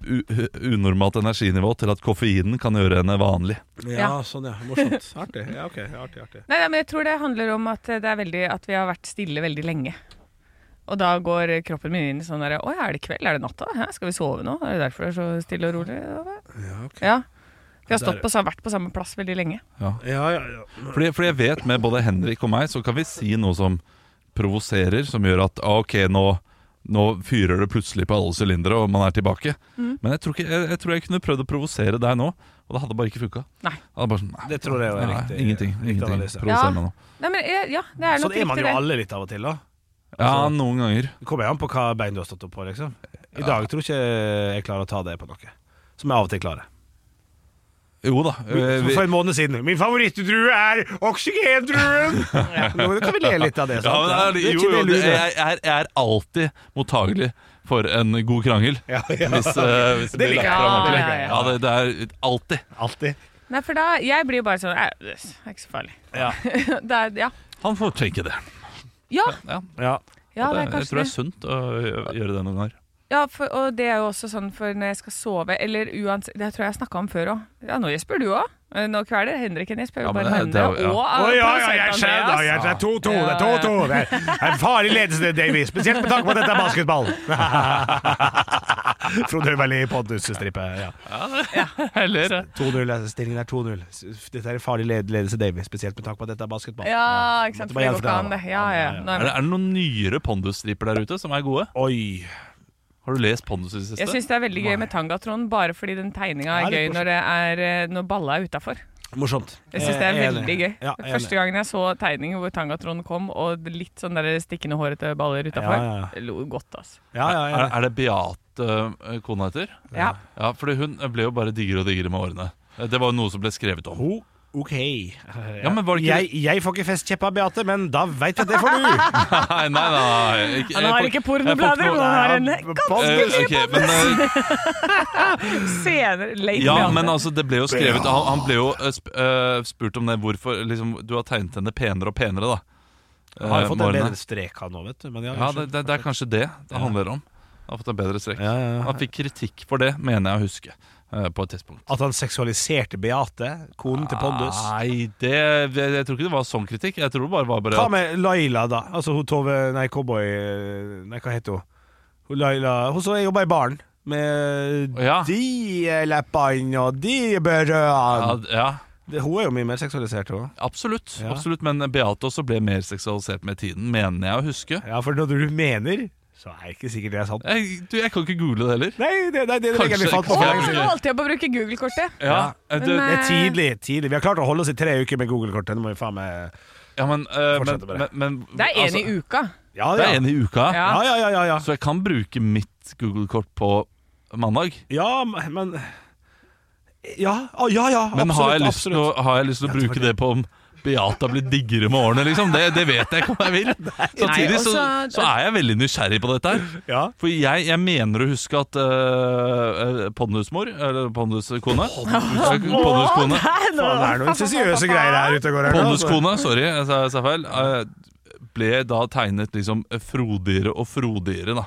S5: u- unormalt energinivå til at koffeinen kan gjøre henne vanlig.
S3: ja, sånn, ja. Morsomt. Artig. Ja, ok. Artig, artig.
S4: Nei, nei, men jeg tror det handler om at, det er veldig, at vi har vært stille veldig lenge. Og da går kroppen min inn i sånn der Å ja, er det kveld? Er det natta? Hæ? Skal vi sove nå? Er det derfor det er så stille og rolig?
S3: Ja, ok.
S4: Ja. Vi har
S3: Ja, der-
S4: stått på, sa- vært på samme plass veldig lenge.
S3: Ja, ja, ja.
S5: Fordi, fordi jeg vet med både Henrik og meg, så kan vi si noe som provoserer, som gjør at ah, ok, nå, nå fyrer det plutselig på alle sylindere, og man er tilbake.
S4: Mm.
S5: Men jeg tror, ikke, jeg, jeg tror jeg kunne prøvd å provosere deg nå, og det hadde bare ikke funka.
S4: Nei.
S5: Det hadde bare sånn, nei,
S3: Det tror jeg jo er
S5: nei,
S3: riktig.
S5: ingenting.
S3: riktig
S5: ingenting.
S3: analyse.
S5: Provoser
S4: Ja.
S5: meg nå.
S4: Nei, men eh, ja, det er nok
S3: Sånn er man
S4: riktig
S3: jo
S4: det.
S3: alle litt av og til, da.
S5: Ja,
S3: Altså-
S5: noen ganger.
S3: Det kommer an på hva bein du har stått opp på, liksom. I dag tror jeg ikke jeg klarer å ta det på noe. Som jeg av og til klarer.
S5: Jo da. eh,
S3: Som
S5: vi-
S3: For en måned siden. Min favorittdrue er oksygendruen! Nå kan vi le litt av det.
S5: Ja,
S3: sant?
S5: men det er,
S3: ikke
S5: jo, jo, det,
S3: lure.
S5: jeg, jeg, er, jeg er alltid mottagelig for en god krangel.
S3: Ja, ja.
S5: Hvis, eh, hvis det blir lagt
S3: liker jeg.
S5: fram.
S4: Ja,
S5: ordentlig.
S4: ja, ja.
S5: Ja, det, det er alltid.
S3: Alltid.
S4: Nei, for da Jeg blir jo bare sånn eh, Det er ikke så farlig.
S3: Ja.
S4: det er, ja.
S5: Han får tenke det.
S4: Ja,
S5: Ja,
S3: Ja.
S4: ja, det er
S5: Eh, jeg
S4: kanskje
S5: tror det
S4: det.
S5: er sunt å gjø- gjøre det noen ganger.
S4: Ja, for, og det er jo også sånn for når jeg skal sove, eller uansett Det tror jeg jeg snakka om før òg. Ja, nå gjesper du òg. Eh, Nå kveler Henrik en gjesp. Jeg
S5: Ja,
S4: vil
S5: men
S4: bare
S5: det- det
S4: henne
S5: er jo- ja.
S4: og
S3: Å
S4: eh,
S3: ja, ja,
S4: produsent
S3: jeg skjønner.
S4: Andreas.
S3: Jeg skjønner. 2-2. Det er 2-2. Det er en farlig ledelse, det, Davy. Spesielt med tanke på at dette er basketball. Frode Høverli i Pontus-stripe. Ja.
S5: Eller
S3: 2-0. altså, Stillingen er 2-0. S- Dette er en farlig led- ledelse, Davy. Spesielt med tanke på at dette er basketball.
S4: Ja, ikke sant.
S3: Måtte
S4: For
S3: bare
S4: det
S3: gjøre
S4: går
S3: for
S4: ikke
S3: det,
S4: an,
S3: da.
S4: det. Ja, ja.
S3: Ja, ja, ja.
S4: Nei,
S5: Er det, er det noen nyere pondusstriper der ute som er gode?
S3: Oi.
S5: Har du lest pondus i det siste?
S4: jeg syns det er veldig gøy med tangatron, bare fordi den tegninga
S3: Ja,
S4: er
S3: litt
S4: gøy når, det er, eh, når balla er utafor.
S3: Morsomt.
S4: Jeg syns det er
S3: Eh, enig.
S4: veldig gøy.
S3: Ja, enig.
S4: Første gangen jeg så tegning hvor tangatron kom, og litt sånn der stikkende hårete baller utafor,
S3: Ja, ja, ja.
S4: lo godt, altså.
S3: Ja, ja, ja.
S5: Er, er det Beate eh, kona heter?
S4: Ja.
S5: Ja, fordi hun ble jo bare diggere og diggere med årene. Eh, Det var jo noe som ble skrevet om.
S3: Ho, ok.
S5: Ja, men var det ikke
S3: jeg, jeg får ikke festkjeppa, Beate, men da veit jeg at det får du.
S5: Nei, nei, nei. Ikke,
S4: Han
S5: jeg
S4: har
S5: får-
S4: ikke
S5: jeg
S4: pornoblader,
S5: får
S4: men han har en
S5: Eh, ok, men eh,
S4: senere late
S5: Ja,
S4: Beate.
S5: men altså, det ble jo skrevet Han, han ble jo eh, sp eh, spurt om det Hvorfor liksom, du har tegnet henne penere og penere da
S3: Jeg har
S5: Eh,
S3: jo fått en
S5: Morne.
S3: bedre strek han nå, vet du. Men ja,
S5: Ja, det, det, det er kanskje det det handler om Han har fått en bedre strekk
S3: Ja, ja, ja.
S5: Han fikk kritikk for det, mener jeg å huske eh, På et tidspunkt
S3: At han seksualiserte Beate, konen til Pondus.
S5: Nei, det, jeg, jeg tror ikke det var sånn kritikk Jeg tror det bare var bare
S3: Hva
S5: at-
S3: med Laila, da? Altså hun Tove Nei, cowboy Nei, hva heter hun? Hun Laila Hun som jobba i baren. Med
S5: Ja.
S3: de leppene og de
S5: ja,
S3: berørene.
S5: d- ja,
S3: Det- Hun er jo mye mer seksualisert, hun.
S5: absolutt,
S3: Ja.
S5: absolutt Men Beate også ble mer seksualisert med tiden Mener jeg å huske
S3: Ja, for når du mener, så er det ikke sikkert det er sant.
S5: jeg, du, jeg kan ikke google det heller
S3: Nei, det, nei, det, er det
S5: Kanskje-
S3: regelen vi fant på
S4: Å,
S3: for
S5: kanskje-
S3: lenge
S4: han
S3: siden.
S5: Ja.
S4: holdt jeg på å bruke Google-kortet.
S5: Ja, eh, det,
S3: Det er tidlig. tidlig Vi har klart å holde oss i tre uker med Google-kortet. Nå må vi faen meg
S5: ja, men, eh, men,
S3: Fortsett bare.
S5: men, men
S4: Det er én
S5: altså-
S4: i uka.
S3: Ja,
S5: Det
S3: ja.
S5: er en i uka.
S4: Ja.
S3: Ja, ja, ja, ja, ja.
S5: Så jeg kan bruke mitt Google-kort på mandag.
S3: ja men Ja, å, ja, ja. Absolutt.
S5: Men har jeg, lyst til å,
S3: absolutt.
S5: har jeg lyst til å bruke det på om Beata blir diggere med årene, liksom? Det, det vet jeg ikke om jeg vil. Samtidig så,
S4: Nei, også-
S5: så er jeg veldig nysgjerrig på dette her.
S3: altså- Ja.
S5: For jeg, jeg mener å huske at øh, øh, pondusmor, eller Eh, ponduskone Ja, Ponduskone.
S3: Faen, det er noen insensiøse greier her ute og går. her nå, altså.
S5: Ponduskone, sorry, jeg sa, jeg sa feil. Eh, Ble da tegnet liksom eh, frodigere og frodigere, da.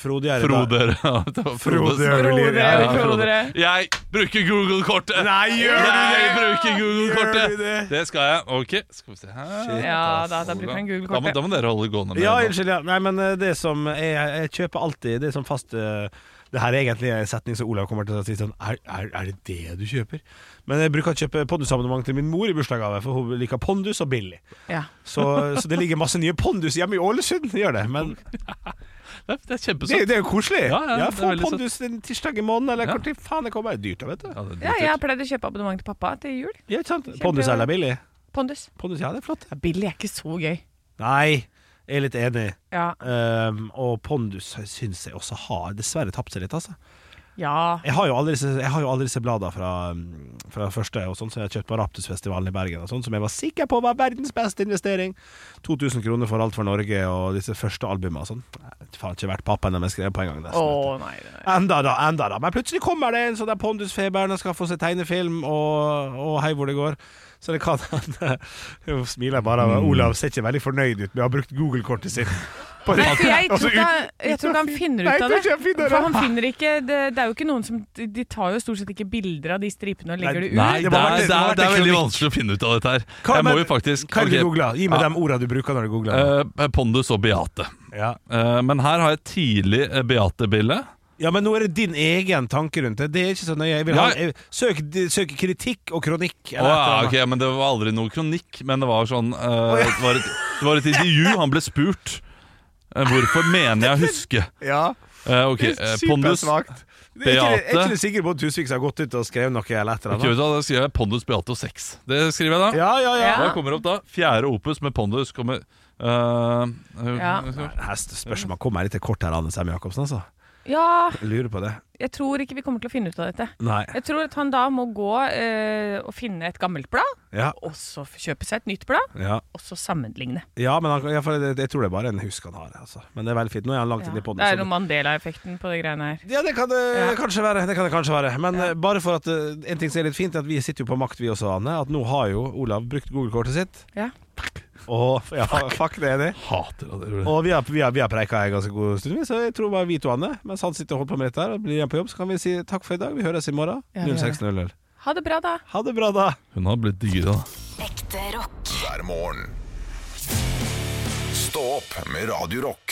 S3: Frodigere da.
S5: Frode ja, det var Frode som-
S3: Frode.
S5: Ja, ja,
S10: Frode.
S5: Frode. Jeg bruker Google-kortet!
S3: Nei, gjør du
S5: Jeg
S3: det?
S5: bruker
S3: Gjør du det?
S5: Google-kortet! Det skal jeg. Ok, skal vi se her
S10: Ja, da, da bruker han
S5: Da må,
S10: Google-kortet.
S5: da må dere holde gående. med
S3: Ja,
S5: det nå.
S3: unnskyld. Ja. Nei, men eh, det som Jeg, jeg kjøper alltid Det er sånn fast eh, Det her er egentlig en setning som Olav kommer til å si sånn er, er, er det det du kjøper? Men jeg bruker å kjøpe pondusabonnement til min mor i bursdagsgave, for hun liker pondus og billig.
S10: Ja.
S3: Så, så det ligger masse nye pondus hjemme i Ålesund, det gjør det. Men
S5: Det er- det er
S3: det, er-
S5: kjempesøtt.
S3: det er jo koselig.
S5: Ja, ja, det er
S3: få
S5: veldig søtt.
S3: pondus en tirsdag i måneden, eller
S5: Ja.
S3: hvor til faen det kommer. Det er dyrt, da, vet du.
S5: Ja, det er
S10: ja,
S5: dritt.
S10: jeg pleide å kjøpe abonnement til pappa til jul.
S3: Ja, ikke sant? Pondus eller billig?
S10: Pondus.
S3: Pondus, ja, det er flott.
S10: Ja, Billy er ikke så gøy.
S3: Nei, jeg er litt enig.
S10: Ja,
S3: Ehm, og pondus syns jeg også har dessverre tapt seg litt, altså.
S10: ja.
S3: Jeg har jo alle disse, jeg har jo alle disse bladene fra, mm, fra første og sånn, som jeg har kjøpt på Raptusfestivalen i Bergen, og sånn, som jeg var sikker på var verdens beste investering. 2000 kroner for alt for Norge og disse første albumene og sånn. Nei, det har faen ikke vært pappaen de jeg skrev på en gang. nesten,
S10: Å
S3: vet du.
S10: nei, nei.
S3: Enda da, enda da. Men plutselig kommer det en sånn der pondusfeberen og skal få seg tegnefilm, og, og hei hvor det går. Så det kan hende Hun smiler bare.
S10: Mm.
S3: og Olav ser ikke veldig fornøyd ut med å ha brukt Google-kortet sitt. På
S10: Nei, for jeg
S3: Og
S10: tror
S3: så
S10: ikke
S3: ut-
S10: han, jeg tror ikke han finner
S3: Altså, Nei,
S10: ut
S3: jeg
S10: av
S3: tror
S10: det.
S3: ikke han finner
S10: For
S3: det.
S10: han finner ikke det, det er jo ikke noen som De tar jo stort sett ikke bilder av de stripene og legger det ut.
S5: Nei, det,
S3: Det må ha vært-
S5: er, det,
S3: det må ha
S5: er,
S3: vært
S5: det er veldig
S3: kronikk.
S5: vanskelig å finne ut av dette her.
S3: Hva-
S5: Jeg må
S3: men-
S5: jo faktisk
S3: Hva er det du
S5: ok,
S3: googler? Gi meg
S5: Ja.
S3: de ordene du bruker når du googler.
S5: eh, Pondus og Beate.
S3: ja.
S5: Eh, men her har jeg tidlig eh, Beate-bilde.
S3: Ja, men nå er det din egen tanke rundt det. Det er ikke så nøye. Jeg vil ha,
S5: Ja.
S3: jeg, søk, søk kritikk og kronikk.
S5: Å
S3: eller
S5: ja,
S3: et
S5: ok,
S3: eller annet.
S5: men Det var aldri noe kronikk, men det var sånn eh, det, var et, det var et intervju. Han ble spurt. eh, hvorfor mener jeg å huske?
S3: ja.
S5: Eh, ok,
S3: Det
S5: eh,
S3: er altså.
S5: Pondus ok,
S3: supersvakt. Det Er ikke, er
S5: Beate.
S3: ikke det Sigrid Bonde Tusvik som har gått ut og skrevet noe? eller et eller
S5: vet
S3: annet?
S5: du hva, Da skriver jeg Pondus, Beate og sex. Det skriver jeg da.
S3: Ja, ja, ja.
S5: Hva kommer opp da? Fjerde opus med Pondus kommer eh, eh,
S10: Ja.
S3: Her spørs om han kommer litt kort her, Anne Sem Jacobsen. Altså.
S10: Ja,
S3: Jeg Lurer på det.
S10: jeg tror ikke vi kommer til å finne ut av dette.
S3: Nei.
S10: Jeg tror at han da må gå eh, og finne et gammelt blad,
S3: Ja,
S10: og så kjøpe seg et nytt blad,
S3: ja.
S10: og så sammenligne.
S3: ja men han, jeg, jeg, jeg tror det er bare en husk han har. Altså. Men det er veldig fint. Nå er han langt
S10: Ja.
S3: inne i podden
S10: Det
S3: så
S10: er noe Mandela-effekten på de greiene her.
S3: Ja, det kan det kanskje være. Det kan det kanskje være. Men eh, bare for at eh, en ting som er litt fint, er at vi sitter jo på makt, vi også, Anne. At nå har jo Olav brukt Google-kortet sitt.
S10: Ja.
S3: Og ja, fuck, det er det.
S5: Hater at dere gjorde det.
S3: Og vi har, vi har, vi har preika en ganske god stund, vi, så jeg tror bare vi to, Anne, mens han sitter og holder på med dette her, og blir igjen på jobb, så kan vi si takk for i dag. Vi høres i morgen.
S10: Ja, vi gjør det.
S3: 06.00.
S10: Ha det bra, da.
S3: Ha det bra, da.
S5: Hun har blitt dyra.
S6: Ekte rock.
S1: hver morgen. Stå opp med Radio Rock.